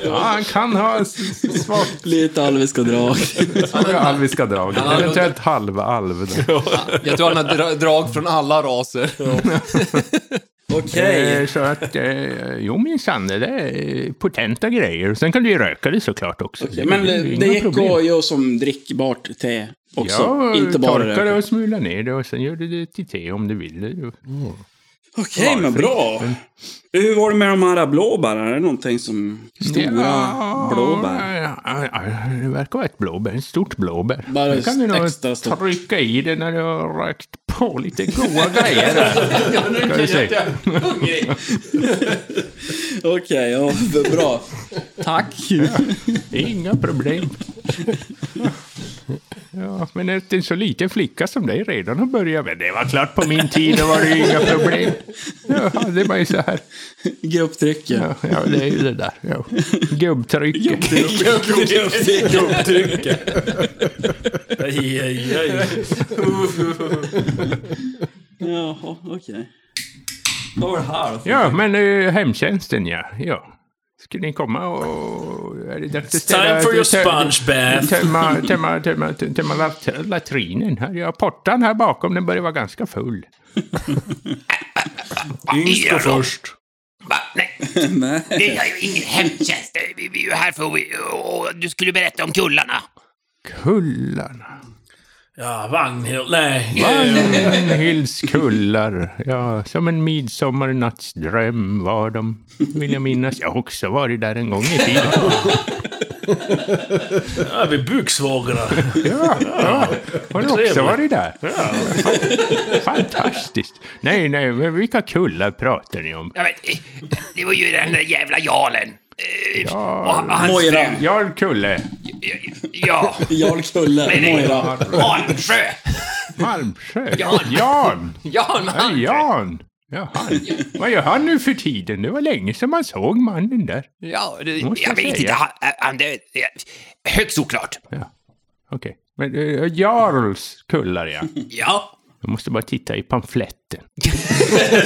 Ja, han kan ha s- s- svagt... Lite alviska drag. Svaga alviska drag. Han har- Eventuellt halvalv. där. Jag tror han har dra- drag från alla raser. Eh, Så att, eh, jo minsann, det där är potenta grejer. Sen kan du ju röka det såklart också. Men är det, ju det inga gick problem. att göra som drickbart te också. Ja, inte bara torka det det. och smula ner det och sen gör du det till te om du vill. Mm. Okej, men bra. Hur var det med de här blåbären? Är det någonting som... Stora blåbär? Det verkar vara ett blåbär, ett stort blåbär. Bara Det kan du nog extra stort. trycka i det när du har rökt på lite goda grejer. där. Ska vi se. Okej, ja, vad bra. Tack. Inga problem. Ja, men att en så liten flicka som dig redan har börjat med. Det var klart på min tid, då var det ju inga problem. Ja, det var ju så här. Grupptrycket. Ja, ja det är ju det där. Ja. Gubbtrycket. Gubbtrycket. Gubbtrycket. Aj, aj, aj. Jaha, okej. Vad var det här? Ja, men uh, hemtjänsten ja. ja. Ska ni komma och... Är det dags att It's time for your sponge bath. Tömma, tömma, tömma, tömma lat- latrinen här. Ja, portan här bakom den börjar vara ganska full. Yngst går först. Det är ju ingen hemtjänst. Vi vi är ju här för att... och Du skulle berätta om kullarna. Kullarna. Ja, Vagnhild. Nej. Vagnhilds kullar. Mm, Ja, som en midsommarnattsdröm var de, vill jag minnas. Jag har också varit där en gång i tiden. Ja, vi är buksvågorna. Ja, ja. Har du också Trevligt. varit där? Fantastiskt. Nej, nej, men vilka kullar pratar ni om? Ja, men, eh, det var ju den där jävla jarlen. Eh, och han- och hans Moira. fru. Jarl Kulle. Ja. Jarl Kulle, Moira. Malmsjö. Malmsjö. Jan. Jan. Jan Ja, Jan. Ja, han. Vad gör han nu för tiden? Det var länge sedan man såg mannen där. Ja, det, Måste jag jag vet säga. inte. Han, han, det, det- högst oklart. Okej. Men eh, Jarls kullar, ja. Ja. Jag måste bara titta i pamfletten.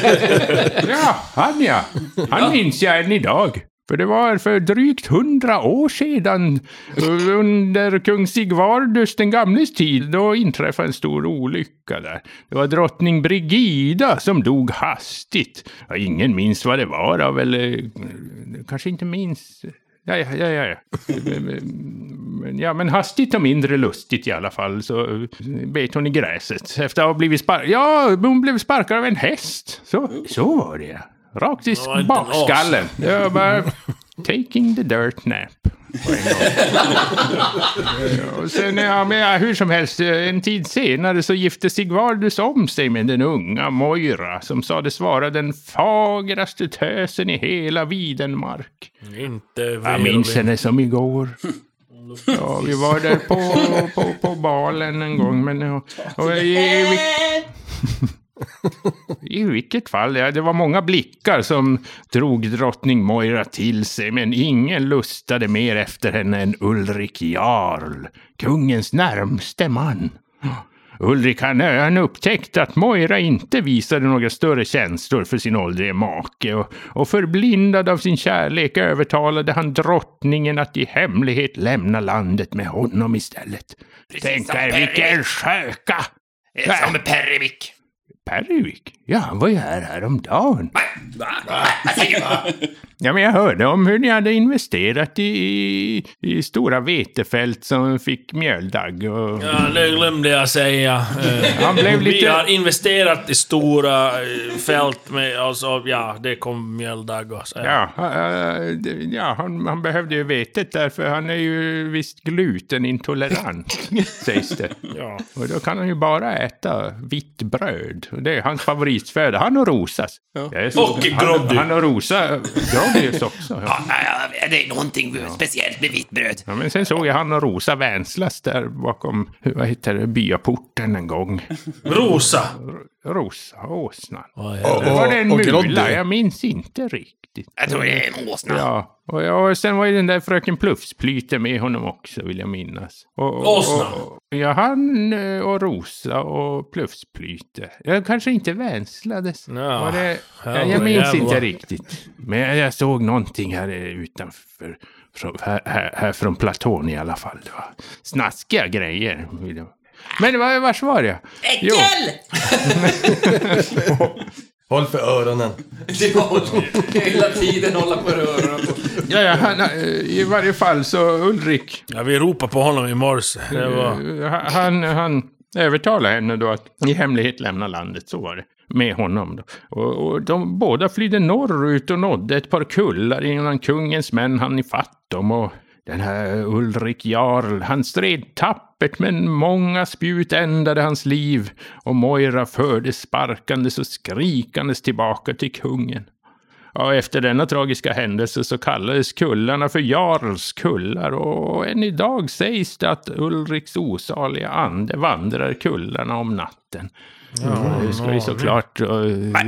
ja, han ja. Han minns jag än idag. För det var för drygt hundra år sedan, eh, under kung Sigvardus den gamles tid, då inträffade en stor olycka där. Det var drottning Brigida som dog hastigt. Ja, ingen minns vad det var av, eller eh, kanske inte minns. Ja, ja, ja, ja. ja. Men, ja, men hastigt och mindre lustigt i alla fall så eh, bet hon i gräset. Efter att ha blivit sparkad. Ja, hon blev sparkad av en häst. Så, så var det ja. Rakt i var inte en bakskallen. as. Jag bara... Taking the dirt nap. på en gång. Ja, Och sen, ja, men, ja, hur som helst, eh, en tid senare så gifte Sigvardus om sig med den unga Moira som sades vara den fagraste tösen i hela Videnmark. Inte Jag minns henne som igår. Ja, vi var där på, på, på balen en gång, men... Och, och, i, i, I vilket fall, ja, det var många blickar som drog drottning Moira till sig, men ingen lustade mer efter henne än Ulrik Jarl, kungens närmste man. Ulrik han, han upptäckte att Moira inte visade några större känslor för sin åldrige make och, och förblindad av sin kärlek övertalade han drottningen att i hemlighet lämna landet med honom istället. Tänk som er Perry. vilken sköka! Som Perrevik. Pervik? Ja, han var ju här häromdagen. Vad säger du? Ja, men jag hörde om hur ni hade investerat i, i, i stora vetefält som fick mjöldagg och... Ja, det glömde jag säga. Eh, Han blev Vi lite- har investerat i stora eh, fält med, alltså, ja, det kom mjöldagg och så. Ja, eh, det- ja han, han behövde ju vetet där, för han är ju visst glutenintolerant, sägs det. Ja. Och då kan han ju bara äta vitt bröd. Och Det är hans favoritföda. Han och Rosas. Det är så- Och Groddy. Han, han och Rosa, Groddys också. Ja. Ja, Det är någonting speciellt med vitt bröd. Ja, men sen såg jag han och Rosa vänslas där bakom, vad heter det, byaporten en gång. Rosa? Rosa, åsnan. ja. Eller var det en Och- och mula? Groddy. Jag minns inte riktigt. Jag tror det är en åsna. Ja, och, ja, och sen var ju den där fröken Plufsplyte med honom också, vill jag minnas. Och, och, Åsna. Och, ja, han eh, och Rosa och Plufsplyte. Jag kanske inte vänslades. Var det, Ja, jag, jag minns jävlar. inte riktigt. Men jag, jag såg någonting här eh, utanför. Från, här, här, här från platån i alla fall. Det var snaskiga grejer. vill jag- Men var, vars var jag? Jo. Äckel! Håll för öronen. Hela tiden hålla på rören. Ja, ja, han, eh, i varje fall så Ulrik. Ja, vi ropade på honom i morse. Det var... Eh, Han, han övertalade henne då att i hemlighet lämna landet, så var det. Med honom då. Och, och de båda flydde norrut och nådde ett par kullar innan kungens män hann ifatt dem. Och den här Ulrik Jarl, han stred tappert men många spjut ändade hans liv. Och Moira fördes sparkandes och skrikandes tillbaka till kungen. Ja, efter denna tragiska händelse så kallades kullarna för Jarls kullar och än idag sägs det att Ulriks osaliga ande vandrar kullarna om natten. Mm, Ja, det ska ju ja, såklart, eh,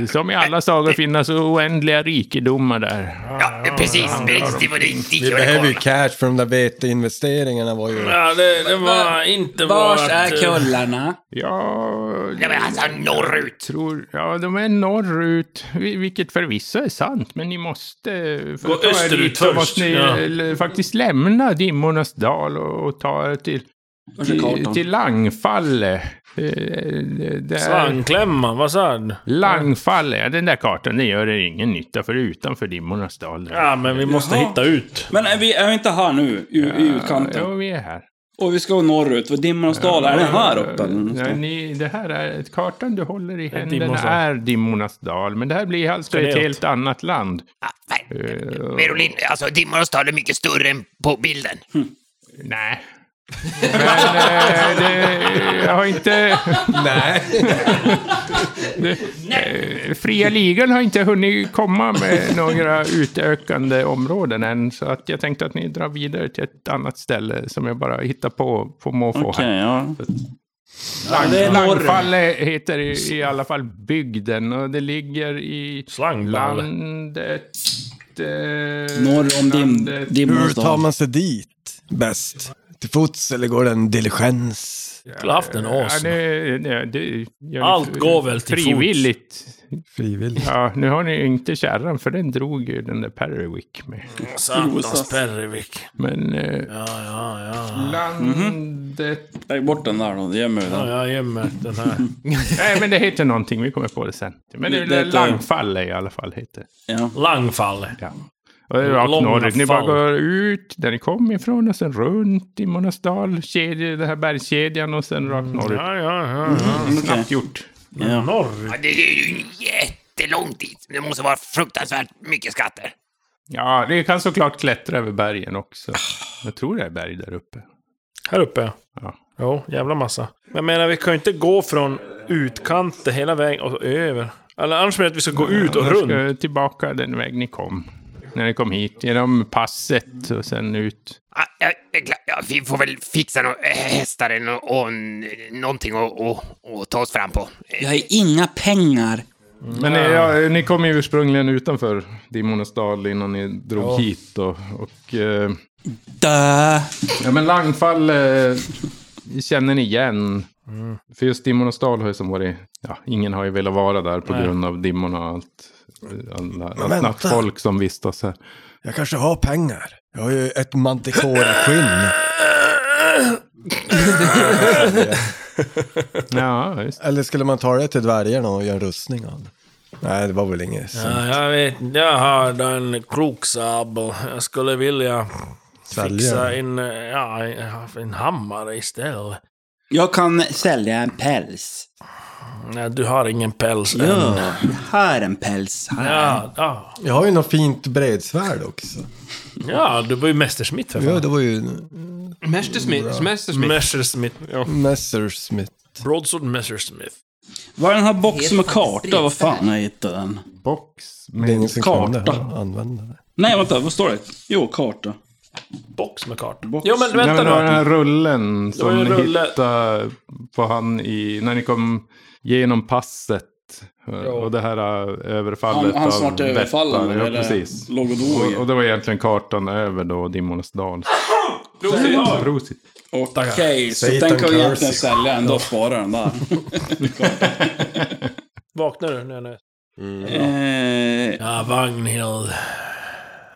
som i alla sagor, finnas oändliga rikedomar där. Ja, precis. Precis, det var det inte Vi behöver ju cash för de där veteinvesteringarna var ju... Ja, det, det var inte Vars vårt, är eh, kullarna? Ja... Ja, men alltså norrut. Tror, ja, de är norrut, vi- vilket förvisso är sant, men ni måste... eh, För Gå att ta er österut dit så först, måste ni ja. eh, faktiskt lämna dimmornas dal och, och ta er till, Vart är till, kartan? till Langfalle. Eh, eh, där- Svangklämman, vad sa du? Langfalle, ja, den där kartan, den gör er ingen nytta för utanför dimmornas dal. Ja, men vi måste Jaha. hitta ut. Men är vi, är vi inte här nu? I, i utkanten? Ja, vi är här. Och vi ska norrut. Vad dimmornas dal, är den här uppe? eller någonstans? Nej, ni, det här är, ett kartan du håller i händerna dimmornas dal. är dimmornas dal, men det här blir alltså Ska ett neråt. helt annat land. Eh, Merolin, alltså dimmornas tal är mycket större än på bilden. Nej. Men eh, det, jag har inte... Nej. eh, Fria ligan har inte hunnit komma med några utökande områden än. Så att jag tänkte att ni drar vidare till ett annat ställe som jag bara hittar på på måfå Okej, här. ja. Lang, det är norr. Langfalle heter i, i alla fall bygden och det ligger i landet... Eh, Norr om dim, landet- Hur tar man sig dit bäst? Till fots eller går det en diligens? Skulle haft en Ja, åsna. nu, nu, det, jag, Allt går väl till fots. frivilligt. Frivilligt. Ja, nu har ni ju inte kärran för den drog ju den där Perrywick med. Satans Perrevik. Men... Eh, Ja, Mhm. ja, ja. Landet... Lägg bort den där då, ge mig Ja, den. jag gömmer den här. Nej, men det heter någonting. Vi kommer på det sen. Men det, Det- det det är heter- Langfalle i alla fall heter Langfalle. Ja. Och det är rakt Långa norrut. Ni bara fall. går ut där ni kom ifrån och sen runt i Monasdal, kedja, den här bergskedjan och sen rakt norrut. Mm, Ja, ja, ja. ja. Snabbt gjort. Ja. Norr. Ja, det är ju jättelångt dit. Det måste vara fruktansvärt mycket skatter. Ja, ni kan såklart klättra över bergen också. Jag tror det är berg där uppe. Här uppe ja. Jo, jävla massa. Men Jag menar, vi kan ju inte gå från utkanten hela vägen och så över. Eller annars menar jag att vi ska gå ut och Annars ska runt. jag Tillbaka den väg ni kom. När ni kom hit. Genom passet och sen ut. Ja, Ah, ja, det är klart. ja, vi får väl fixa no hästar eller nå- och, n- någonting att och, och ta oss fram på. Eh, Jag har inga pengar. Men ni, ja, ni kom ju ursprungligen utanför Dimmornas dal innan ni drog Ja. hit. Och, och, eh, Ja, men Langfall eh, känner ni igen. Mm. För just Dimmornas dal har ju som varit... Ja, ingen har ju velat vara där på Nej. grund av dimmorna och allt. Alla, vänta. allt nattfolk som vistas här. Jag kanske har pengar. Jag har ju ett mantikoraskinn. ja, just. Eller skulle man ta det till dvärgarna och göra en rustning av det? Nej, det var väl inget Ja, sånt. jag vet, jag har en klok sabel. Jag skulle vilja Sälja. fixa en, eh, ja, en hammare istället. Jag kan sälja en päls. Nej, du har ingen päls ja, än. Jag har en päls här. Ja, ja. Jag har ju något fint bredsvärd också. ja, du var ju mästersmitt för Ja, fan. det var ju Mästersmith. Mästersmith. Messersmith. Ja. Messersmith. Broadsword Messersmith. Vad är den här boxen med Helt faktiskt karta? Vad fan spritsvärd. har jag hittat den? Box? Det är ingen som kunde Karta. använda det. Nej, vänta. Vad står det? Jo, karta. Box med karta. Box. Jo, men Nej, vänta men det var nu. den här rullen var som en ni rulle. hittade på han i, när ni kom genom passet. eh, Och det här eh, överfallet Han- han snart av överfallen, Bettan. Ja, eller precis. låg och dog. Och, och det var egentligen kartan över då Dimmornas dal. Prosit. Okej, så den kan vi egentligen sälja ändå och spara den där. Vaknar du nu? nu? Eh, Ja, Vagnhild.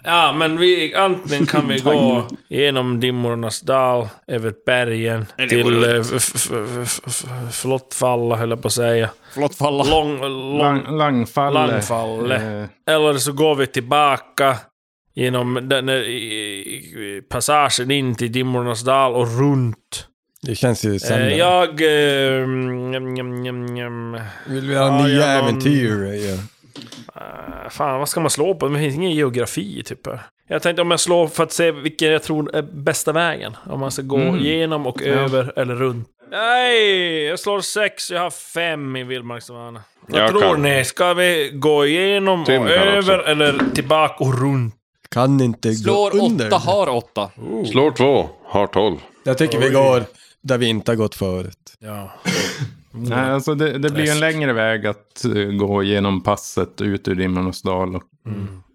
Ja, men vi, antingen kan vi gå genom dimmornas dal, över bergen, Eller till går eh, f- f- f- f- Flottfalla, höll jag på att säga. Flottfalla. Lång, lång, Lang, langfalle. Langfalle. Eh, Eller så går vi tillbaka genom den, eh, i- i- passagen in till dimmornas dal och runt. Det känns ju Eh, sämre. jag... Eh, njam, njam, njam, njam. Vill vi ha Ja, nya jag- äventyr? Ja. Eh, Fan, vad ska man slå på? Det finns ingen geografi, typ. här. Jag tänkte om jag slår för att se vilken jag tror är bästa vägen. Om man ska gå Mm. genom och Ja. över eller runt. Nej, jag slår sex. Jag har fem i vildmarksvana. Vad Jag tror kan. ni? Ska vi gå igenom Tim och kan också. över eller tillbaka och runt? Kan inte Slår gå under. åtta, har åtta. Slår två, har tolv. Jag tycker vi Oj. går där vi inte har gått förut. Ja. Nej, alltså det, det blir ju en Träsk. längre väg att eh, gå genom passet ut ur Dimmornas dal. Och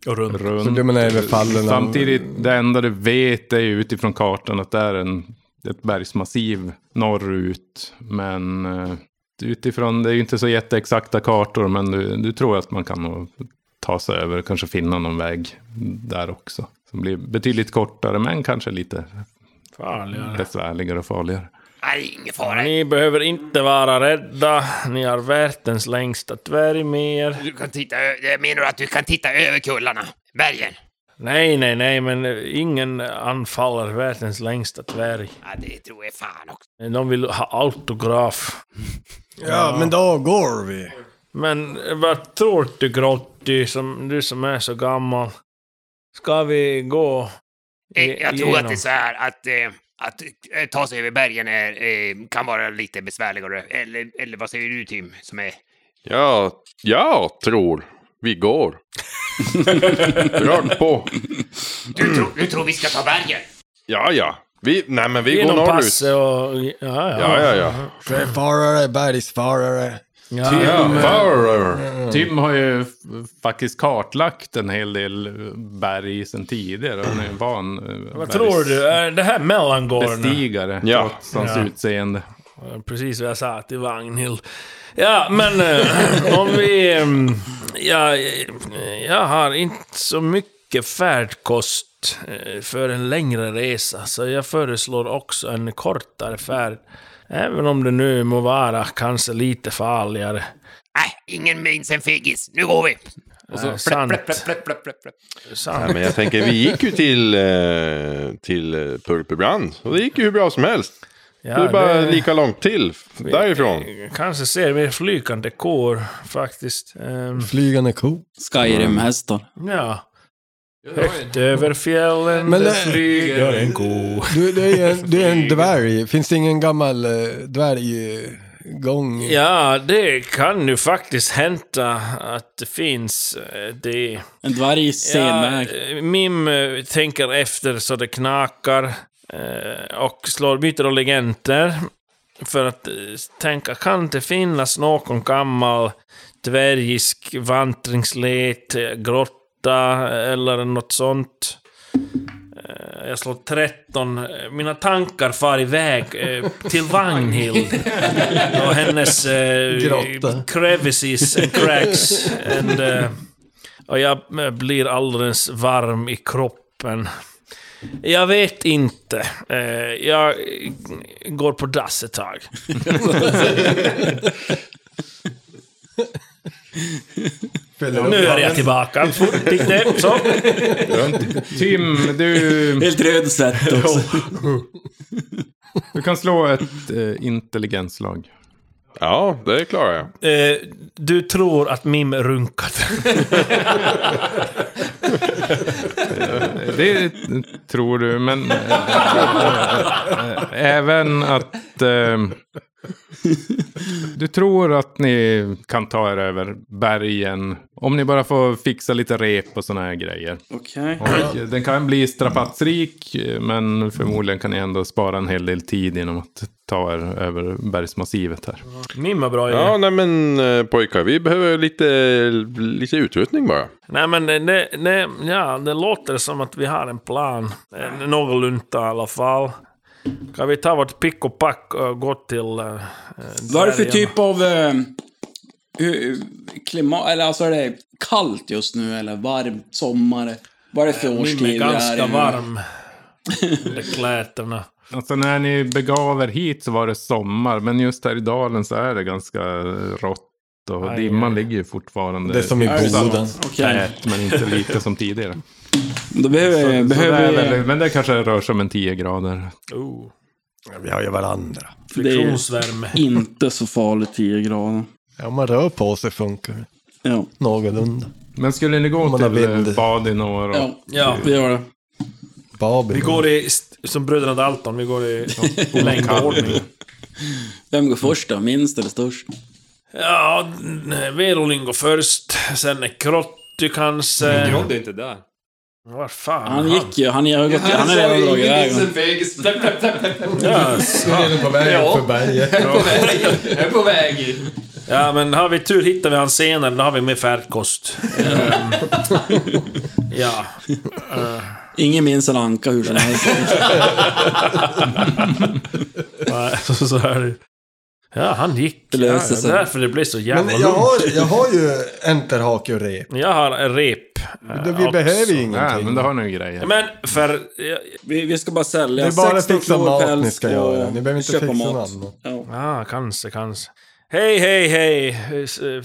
Och runt. Så blir man överfallen av- Samtidigt, det enda du vet är ju utifrån kartan att det är en, ett bergsmassiv norrut. Men eh, utifrån, det är ju inte så jätteexakta kartor, men du, du tror att man kan nog ta sig över och kanske finna någon väg där också. Som blir betydligt kortare, men kanske lite Farligare. besvärligare och farligare. Nej, ingen fara. Ni behöver inte vara rädda. Ni har världens längsta dvärg med er. Du kan titta, ö- jag menar du att du kan titta över kullarna? Bergen? Nej, nej, nej, men eh, ingen anfaller världens längsta dvärg. Ja, det tror jag fan också. De vill ha autograf. Ja, men då går vi. Men eh, vad tror du Grotti, som, du som är så gammal? Ska vi gå Eh, i- Jag tror att det igenom? är så här att, eh, att eh, ta sig över bergen är, eh, kan vara lite besvärligare. Eller, eller vad säger du Tim? Som är... Ja, jag tror vi går. Rakt på. Du, tror, du tror vi ska ta bergen? Ja, ja. Vi, nej, men vi går Genom norrut. passet och... Ja, ja. Ja, ja, ja. Sjöfarare, bergsfarare. Ja. Tim, Mm. Farrar. Tim har ju f- faktiskt kartlagt en hel del eh, berg sedan tidigare. och Han är en van eh, Vad tror du? Är det här mellangården? bergsbestigare trots hans Ja. utseende. Precis vad jag sa till Vagnhild. Ja, men eh, om vi... ehm, ja, eh, jag har inte så mycket färdkost eh, för en längre resa, så jag föreslår också en kortare färd. Även om det nu må vara kanske lite farligare. Nej, ingen minns en fegis. Nu går vi! Och så- Ja, sant. Sant. Nej, men jag tänker, vi gick ju till, eh, till eh, Pulperbrand. Och det gick ju hur bra som helst. Ja, det är bara det- lika långt till. f- Därifrån. Kanske ser mer flygande kor, faktiskt. Ehm, Flygande ko. Skyrim-hästar. ja. Högt över fjällen, Men det det- flyger en ko. Du, du, är ju en, du är en dvärg. Finns det ingen gammal eh, dvärggång? Ja, det kan ju faktiskt hända att det finns eh, det. En dvärg eh, Mim eh, tänker efter så det knakar. Eh, och slår myter och legender. För att eh, tänka, kan det finnas någon gammal dvärgisk vandringsled, eh, grotta eller något sånt? Eh, Jag slår 13. Mina tankar far iväg eh, till Vagnhild. Och hennes eh, Grotta. crevices and cracks. And, eh, och jag eh, blir alldeles varm i kroppen. Jag vet inte. Eh, jag eh, går på dass ett tag. nu är jag tillbaka. Fort gick det. Så. Tim, du... Helt röd svett också. Du kan slå ett eh, intelligenslag. Ja, det klarar jag. Eh, du tror att Mim runkade. Det tror du, men... eh, Även att... eh, Du tror att ni kan ta er över bergen. Om ni bara får fixa lite rep och såna här grejer. Okej. Och Den kan bli strapatsrik, men förmodligen kan ni ändå spara en hel del tid genom att ta er över bergsmassivet här. Mim var bra ju. Ja, nej men eh, pojkar, vi behöver lite, lite utrustning bara. Nej men det, det, det, ja, det låter som att vi har en plan. Eh, Någorlunda i alla fall. Kan vi ta vårt pick och pack och gå till... eh, Vad är det för dvärgen? typ av eh, hu- klimat? Eller alltså är det kallt just nu eller varmt? Sommar? Vad är det för årstid? Mim vi är är ganska i nu? varm. Under kläderna. Alltså när ni begav er hit så var det sommar, men just här i dalen så är det ganska rått. Och Aj, dimman ligger ju fortfarande... Det är som i Är det sant? Boden. Okej. Tät, men inte lite som tidigare. Då behöver, Så behöver det är vi... eh, väl, men det kanske rör sig om en 10 grader. Oh. Vi har ju varandra. Det är ju Friktionsvärme. inte så farligt 10 grader. Ja, om man rör på sig funkar det. Ja. Någorlunda. Men skulle ni gå Man har till eh, vind. Badinor? och- Ja, Ja. vi gör det. Babel. Vi går i, st- som bröderna Dalton, vi går i längdordning. Vem går först då? Minst eller störst? Ja, Verolin går först, sen är Krotty kanske. John är inte där. Vad fan? Han gick ju, han har gått, han har redan dragit iväg. Ja, redan på väg Ja. för berget. Jag är på väg. Ja, men har vi tur hittar vi han senare, då har vi med färdkost. Ehm, ja. Eh, Ingen minns en anka hur som helst. nej, så, så är det. Ja, han gick. Det ja, löser sig. därför det blev så jävla Men jag lugnt. har, jag har ju enterhake och rep. Jag har en rep. eh, Det- Vi också. behöver ju Nej, ingenting. men det har ni ju grejer. Men för... ja, Vi, vi ska bara sälja Det är bara 16 fixa kilo mat päls ni ska och göra. Ni behöver inte köpa fixa mat. något annat. Ja. Ah, kanske, kanske. Hej, hej, hej,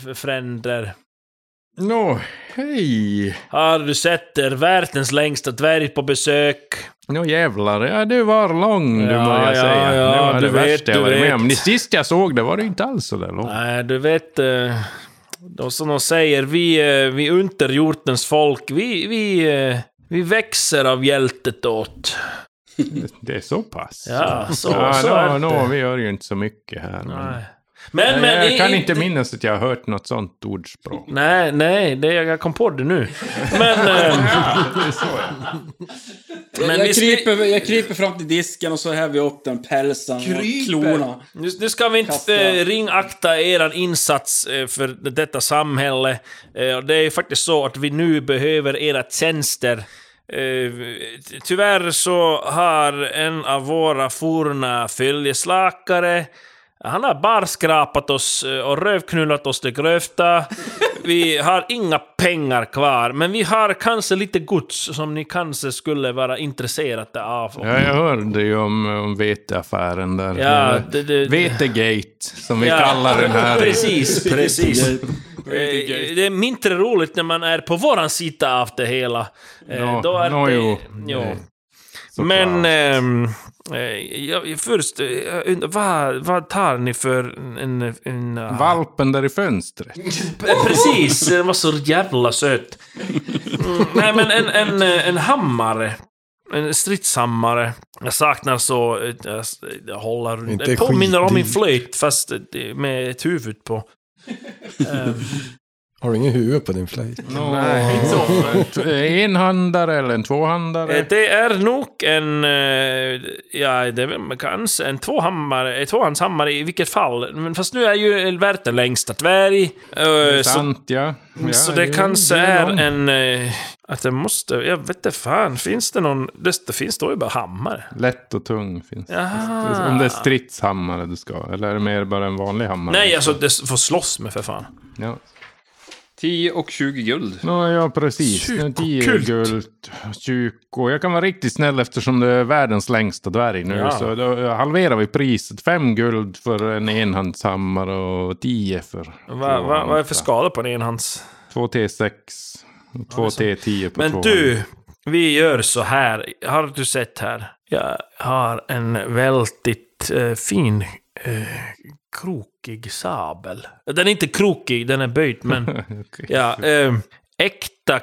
eh, fränder. Nå, hej! Har du sett er världens längsta dvärg på besök? Nå jävlar, ja du var lång du Ja, må jag ja, säga. ja, det var du det vet, värsta jag du varit vet. med om. Ni- Sist jag såg det var det inte alls sådär långt. Nej, du vet... eh, De som de säger, vi, eh, vi unterjordens folk, vi, vi, eh, vi växer av hjältet åt. Det är så pass? Ja, så- ja, så nå, är det. nå, vi gör ju inte så mycket här. Men... Nej. Men, men... jag i- kan i- inte minnas att jag har hört något sånt ordspråk. Nej, nej, det, jag kom på det nu. Men... eh, Men vi jag, ska- kryper, jag kryper fram till disken och så häver jag upp den pälsen och klorna. Nu, nu ska vi inte Kasta. eh, ringakta er insats eh, för detta samhälle. Eh, och det är ju faktiskt så att vi nu behöver era tjänster. Eh, ty- tyvärr så har en av våra forna följeslakare han har barskrapat oss eh, och rövknullat oss till grövta. Vi har inga pengar kvar, men vi har kanske lite gods som ni kanske skulle vara intresserade av. Ja, jag hörde ju om, om veteaffären där. Ja, det- det- Vetegate, som vi Ja, kallar den här. Precis, precis. Eh, Det är mindre roligt när man är på våran sida av det hela. Eh, Nå, Då är nå, det... jo. jo. Nej, Men... ehm, eh, jag, först, eh, jag undrar, vad, vad tar ni för en... en, en Valpen där i fönstret. Eh, Precis, den var så jävla söt. Mm, nej men en, en, eh, en hammare. En stridshammare. Jag saknar så... eh, Jag, s- jag håller runt... Inte Det påminner om min skitdyrt. flöjt fast eh, det- med ett huvud på. Ehm, Har du ingen huvud på din flöjt? Enhandare eller en tvåhandare? Eh, Det är nog en, eh, ja, det är väl kanske en tvåhammare, eh, tvåhandshammare i vilket fall. Men fast nu är ju Elverte längsta dvärg. eh, Det är så- sant, ja. ja. så det jo, kanske det är, någon. en... eh, Att det måste... Jag vet inte fan, finns det någon... Det, det finns, står ju bara hammare. Lätt och tung finns det. Jaha. Om det är stridshammare du ska ha, eller är det mer bara en vanlig hammare? Nej, alltså det s- får slåss med för fan. Ja. 10 och 20 guld. Ja, ja precis. Nu är tio Kyrkokult. guld, kyrko. Jag kan vara riktigt snäll eftersom det är världens längsta dvärg nu. Ja. Så då halverar vi priset. Fem guld för en enhandshammare och tio för... Vad va, vad är för skada på en enhands... Två T6 och två T10 på Men två. du, vi gör så här. Har du sett här? Jag har en väldigt eh, fin eh, krokig sabel. Den är inte krokig, den är böjd, men ja, eh, äkta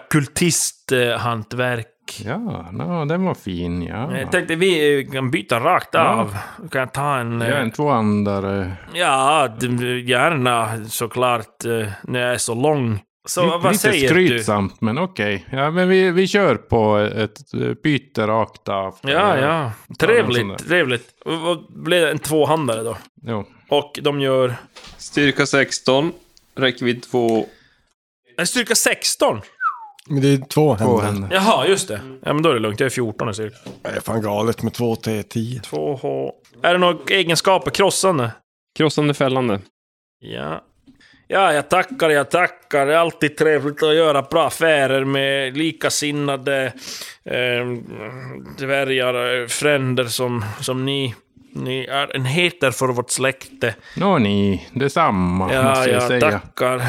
kultisthantverk. Ja, no, den var fin. Ja. Jag tänkte vi eh, kan byta rakt av. Kan jag ta en... Jag eh, är en tvåhandare. Ja, d- gärna såklart eh, när jag är så lång. Så Lite- vad lite säger skrytsamt, men okej. Ja, men vi, vi kör på ett ett byte rakt av. du? Ja, ja. Ta någon sån Trevligt, där. trevligt. Och- och Blev det en tvåhandare då? Jo. Och de gör... Styrka 16, räckvidd 2. En styrka 16? Men det är två händer. Jaha, just det. Ja, men då är det lugnt. Jag är 14 i cirka. Det är fan galet med två T10. 2H. Är det några egenskaper? Krossande? Krossande fällande. Ja. Ja, jag tackar, jag tackar. Det är alltid trevligt att göra bra affärer med likasinnade eh, dvärgar, eh, fränder som, som ni. Ni är en heter för vårt släkte. Nå ni, detsamma Ja, måste jag jag säga. tackar.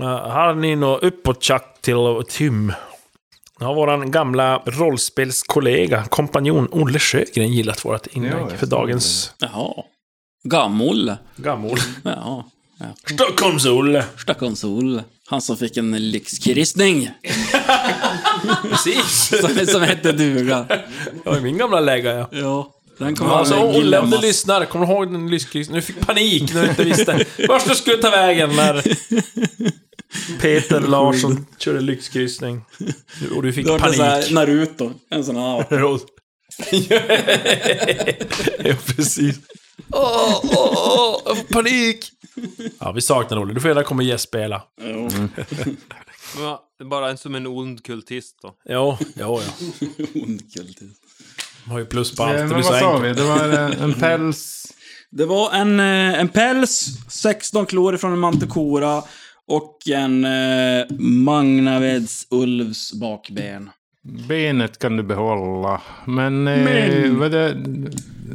Ja, Har ni något uppåttjack till Tim? Har våran gamla rollspelskollega, kompanjon Olle Sjögren gillat vårt inlägg för dagens... Jaha. Gammol. Gammol. Ja. ja. Stockholms-Olle. Stockholms-Olle. Han som fick en lyxkristning. Precis. Som, som hette duga. Det var ju min gamla läga, ja. Ja. Den kommer Alltså, aldrig Olle, om du glömmas. lyssnar, kommer du ihåg den lyskryssen? Nu fick panik när du inte visste vart du skulle ta vägen när Peter Larsson körde lyxkryssning. Du- Och du fick Det var en sån här panik. Naruto. En sån här. ja, precis. Åh, åh, åh, panik! Ja, vi saknar Olle. Du får gärna komma och gästspela. Bara en som en ond kultist då. Jo, jo, ja. Ond kultist. De har ju plus på Eh, allt. men det vad blir så sa vi? enkelt. Det var en, en päls. Det var en, eh, en päls, 16 klor från en mantikora och en eh, Magnaveds ulvs bakben. Benet kan du behålla. Men, Eh, Men- vad är det,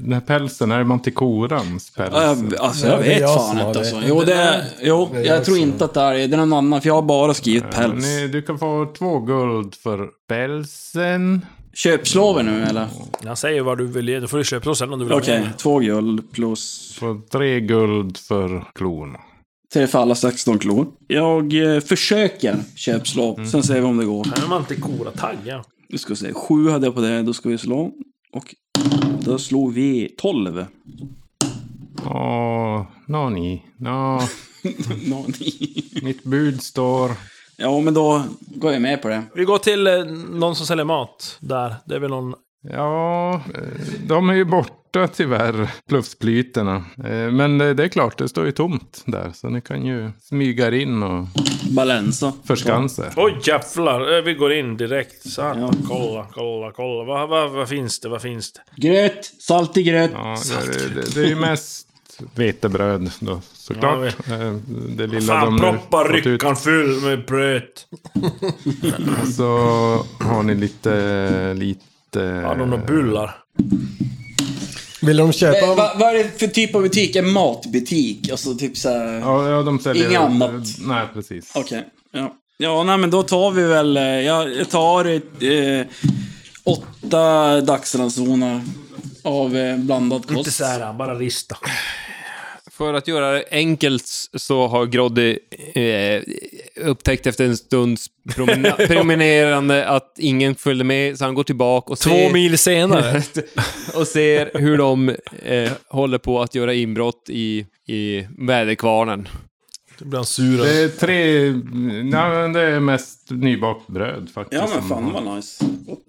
den här pälsen, är det mantikorans päls? Ja, Alltså jag vet fan inte alltså. Jo, det är, jo Det är jag jag tror som- inte att det är, det är någon annan för jag har bara skrivit päls. Ni, du kan få två guld för pälsen. Köpslår vi nu eller? Jag säger vad du vill ge. Då får du köpa oss sen om du vill ha Okej, mer. två guld plus... Få tre guld för klorna. Tre för alla 16 klor. Jag eh, försöker köpslå, sen ser vi om det går. Här är man inte kora tagga. Nu ska vi se, sju hade jag på det, då ska vi slå. Och då slog vi 12. Åh, nå ni. Nå. nå ni. Mitt bud står... Ja, men då går jag med på det. Vi går till eh, någon som säljer mat där. Det är väl någon... Ja, eh, de är ju borta tyvärr, pluffsplyterna. Eh, Men det det är klart, det står ju tomt där. Så ni kan ju smyga er in och... Balansa. Förskansa er. Oj jävlar, Eh, vi går in direkt. Så här. Kolla, kolla, kolla. Vad, vad, vad finns det? Vad finns det? Gröt, saltig gröt. Ja, det, det, det är ju mest vetebröd då, såklart. Eh, Det lilla Fan, de nu proppa fått ut. ryckan full med bröt. Så har ni lite... lite... Har de några bullar? Vill de Eh, köpa... va- vad är det för typ av butik? En matbutik? Alltså typ såhär... Ja, ja, de säljer... Inget annat. Nej, precis. Okej. Ja. ja, nej men då tar vi väl... eh, Jag jag tar eh, åtta dagsransoner av eh, blandad kost. Inte så här, bara rista. För att göra det enkelt så har Groddy eh, upptäckt efter en stunds promena- promenerande att ingen följde med, så han går tillbaka och Två ser... mil senare. och ser hur de eh, håller på att göra inbrott i, i väderkvarnen. Då blir han sur. Det är tre... Nej, men det är mest nybakt bröd faktiskt. Ja, men fan vad nice.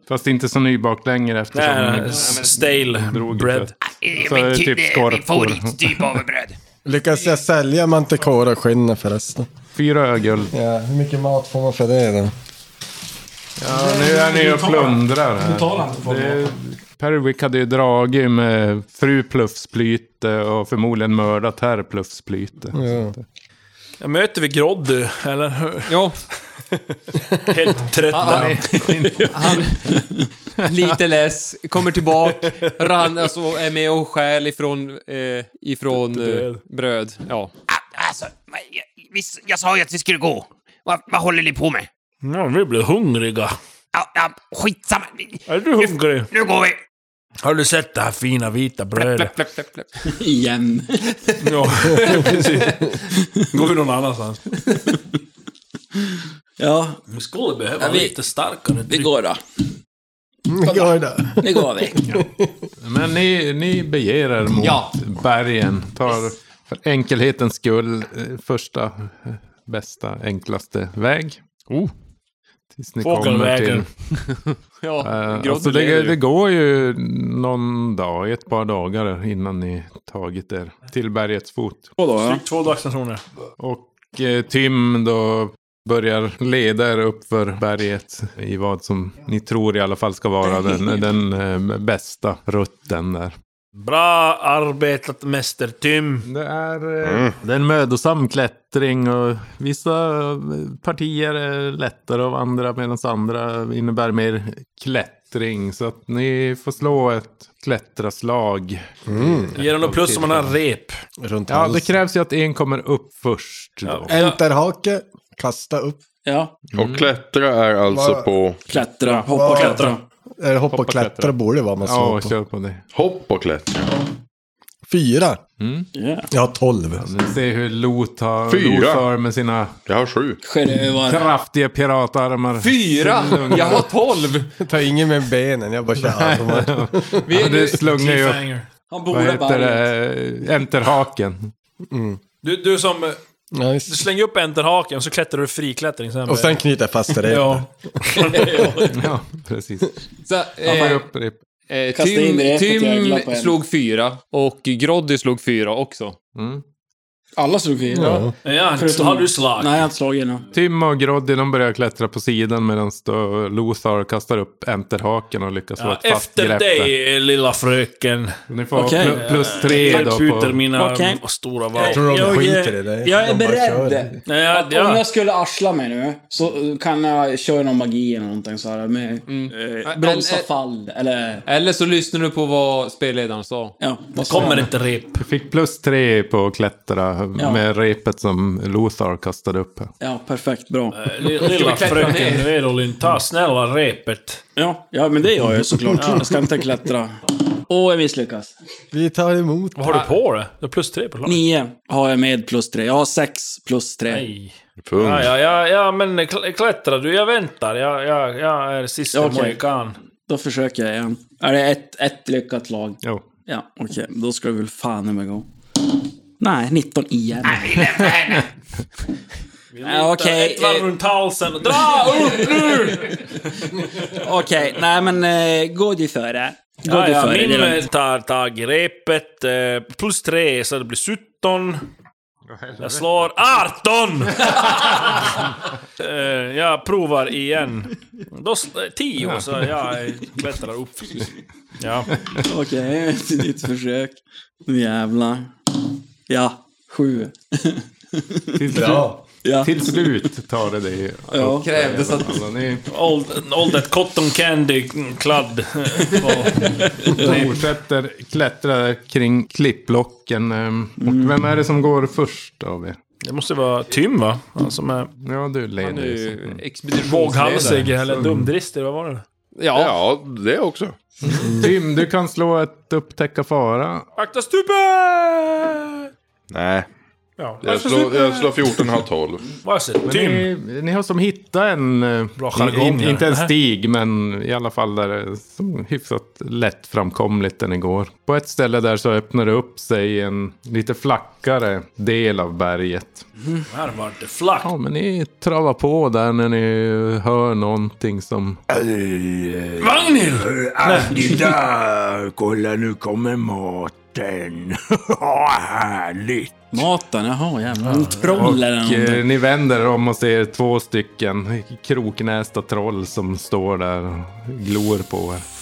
Fast inte så nybakt längre Äh, eftersom... Nej, han nej, stale drog bread. lite. Eh, Så min är det ty- typ det är min skorpor. favorittyp av bröd. Lyckas jag sälja mantikora-skinnet förresten? Fyra ögel. Ja, hur mycket mat får man för det då? Ja, nu är ni och plundrar här. Betala inte folk. Det- Perwick hade ju dragit med fru Pluffsplyte och förmodligen mördat herr Pluffsplyte. Jag möter vi Groddy, eller hur? Ja. Helt trött Han, där. han, lite less, kommer tillbaka, rann, alltså, är med och stjäl ifrån, eh, ifrån eh, Bröd. bröd. Ja. Alltså, vad- jag, visst, jag sa ju att vi skulle gå. Vad, vad håller ni på med? Ja, vi blir hungriga. Ja, ja, skitsamma. Är du hungrig? Nu går vi. Har du sett det här fina vita brödet? Igen. Ja, precis. Går vi någon annanstans? Ja. Vi skulle behöva Ja, vi- lite starkare Vi går då. Gör det. Nu går vi. Men ni, ni beger er mot Ja. bergen. Tar för enkelhetens skull eh, första, eh, bästa, enklaste väg. Oh. Tills ni kommer till... Fågelvägen. ja, Eh, Groddy alltså lever det, ju. det går ju någon dag, ett par dagar innan ni tagit er till bergets fot. Två dagar. Stryk två dagsstationer. Och eh, Tim då börjar leda er upp för berget i vad som ni tror i alla fall ska vara den, den eh, bästa rutten där. Bra arbetat mäster Tim. Det är... eh, Det är en mödosam klättring och vissa eh, partier är lättare av andra medan andra innebär mer klättring. Så att ni får slå ett klättraslag. Mm. Ger den då plus om man har rep? Runt Ja, det halsen. krävs ju att en kommer upp först. Då. Enterhake, kasta upp. Ja. Och klättra är alltså Vad- på... Klättra, hoppa och klättra. Eller hopp och klättra borde det vara man Ja, slår kör på det. Hopp och klättra. Fyra. Yeah. Jag har tolv. Ni ser hur Lot har Fyra. Lot har med sina... Jag har sju. Självar. Kraftiga piratarmar. Fyra! Slungar. Jag har tolv! Ta ingen med benen, jag bara kör armar. Ja, det slungar ju upp. Han Vad borde heter bara... det? Enterhaken. Du, du som... eh, Nice. Du slänger upp enterhaken så klättrar du friklättring. Sen Och sen knyter jag fast det. Ja. Ja, precis. Så, Han tar eh, upp rep. eh, Kasta in Tim, repet, jävla Tim på en. slog fyra och Groddy slog fyra också. Alla slog fel. Ja. Ja, Förutom- har du slag? Nej, jag har inte slagit ännu. Tim och Groddy de börjar klättra på sidan medan då Lothar kastar upp enterhaken och lyckas få Ja, ett fast efter grepp där. dig, eh, lilla fröken. Ni får Okej. pl- plus tre jag då. skjuter På... mina Okej. stora val. Jag tror de Jag, skiter eh, i det. jag är De bara kör. beredd. Nej, jag, Om jag, jag skulle arsla mig nu så eh, kan jag köra någon magi eller någonting så här med eh, bromsa Eller- fall eller... Eller så lyssnar du på vad spelledaren sa. Ja, vad sa kommer jag? inte rep. Du fick plus tre på att klättra Ja. med repet som Lothar kastade upp. här. Ja, perfekt. Bra. Eh, Lilla, lilla klättra fröken ner? Vedolin, ta snälla repet. Ja, ja men det gör jag ju såklart. Jag ska inte klättra. Åh, jag misslyckas. Vi tar emot. Vad har du på det? Du har plus tre på laget. Nio har jag med plus tre. Jag har sex plus tre. Nej. Pung. Ja, ja, ja, ja, men kl- klättra du. Jag väntar. Jag, jag, jag är sista Okej. mohikan. Då försöker jag igen. Är det ett, ett lyckat lag? Jo. Ja, okej. Då ska vi väl fan i mig gå. Nej, 19 igen. Ja, Okej, Ett varv eh, runt halsen. Dra upp nu! okej. Nej, men eh, gå du före. Gå Ja, du ja, före. min det är lugnt. eh, tar tag i repet. eh, Plus tre, så det blir 17. Jag slår 18! Eh, jag provar igen. Då sl- 10, så jag eh, klättrar upp. Ja. Okej, ett nytt försök. Nu jävlar. Ja, sju. Till, Bra. Ja. till slut tar det dig Ja. Krävdes att... Alla ni Old, old that cotton candy mm, kladd. eh, och- fortsätter klättra kring klippblocken. ehm, Och vem är det som går först av er? Det måste vara Tim va? Han som är Ja, du leder ju. så- våghalsig eller dumdristig, vad var det? Ja. Ja, det också. Tim, du kan slå ett upptäcka fara. Akta stupen! Nej. Ja. Jag slår, jag slår 14, halv 12. Varsitt. Men Tim. ni, ni har som hittat en... eh, Bra jargong, in, ja. inte en Nähä. stig, men i alla fall där det är som hyfsat lätt framkomligt den igår. På ett ställe där så öppnar det upp sig en lite flackare del av berget. Mm. Här var det flack. Ja, men ni travar på där när ni hör någonting som... Äh, Vagnhild! Andy där, äh, kolla nu kommer maten. Härligt. Maten, jaha jävlar. En troll eller Och eh, någonting. ni vänder om och ser två stycken kroknästa troll som står där och glor på er.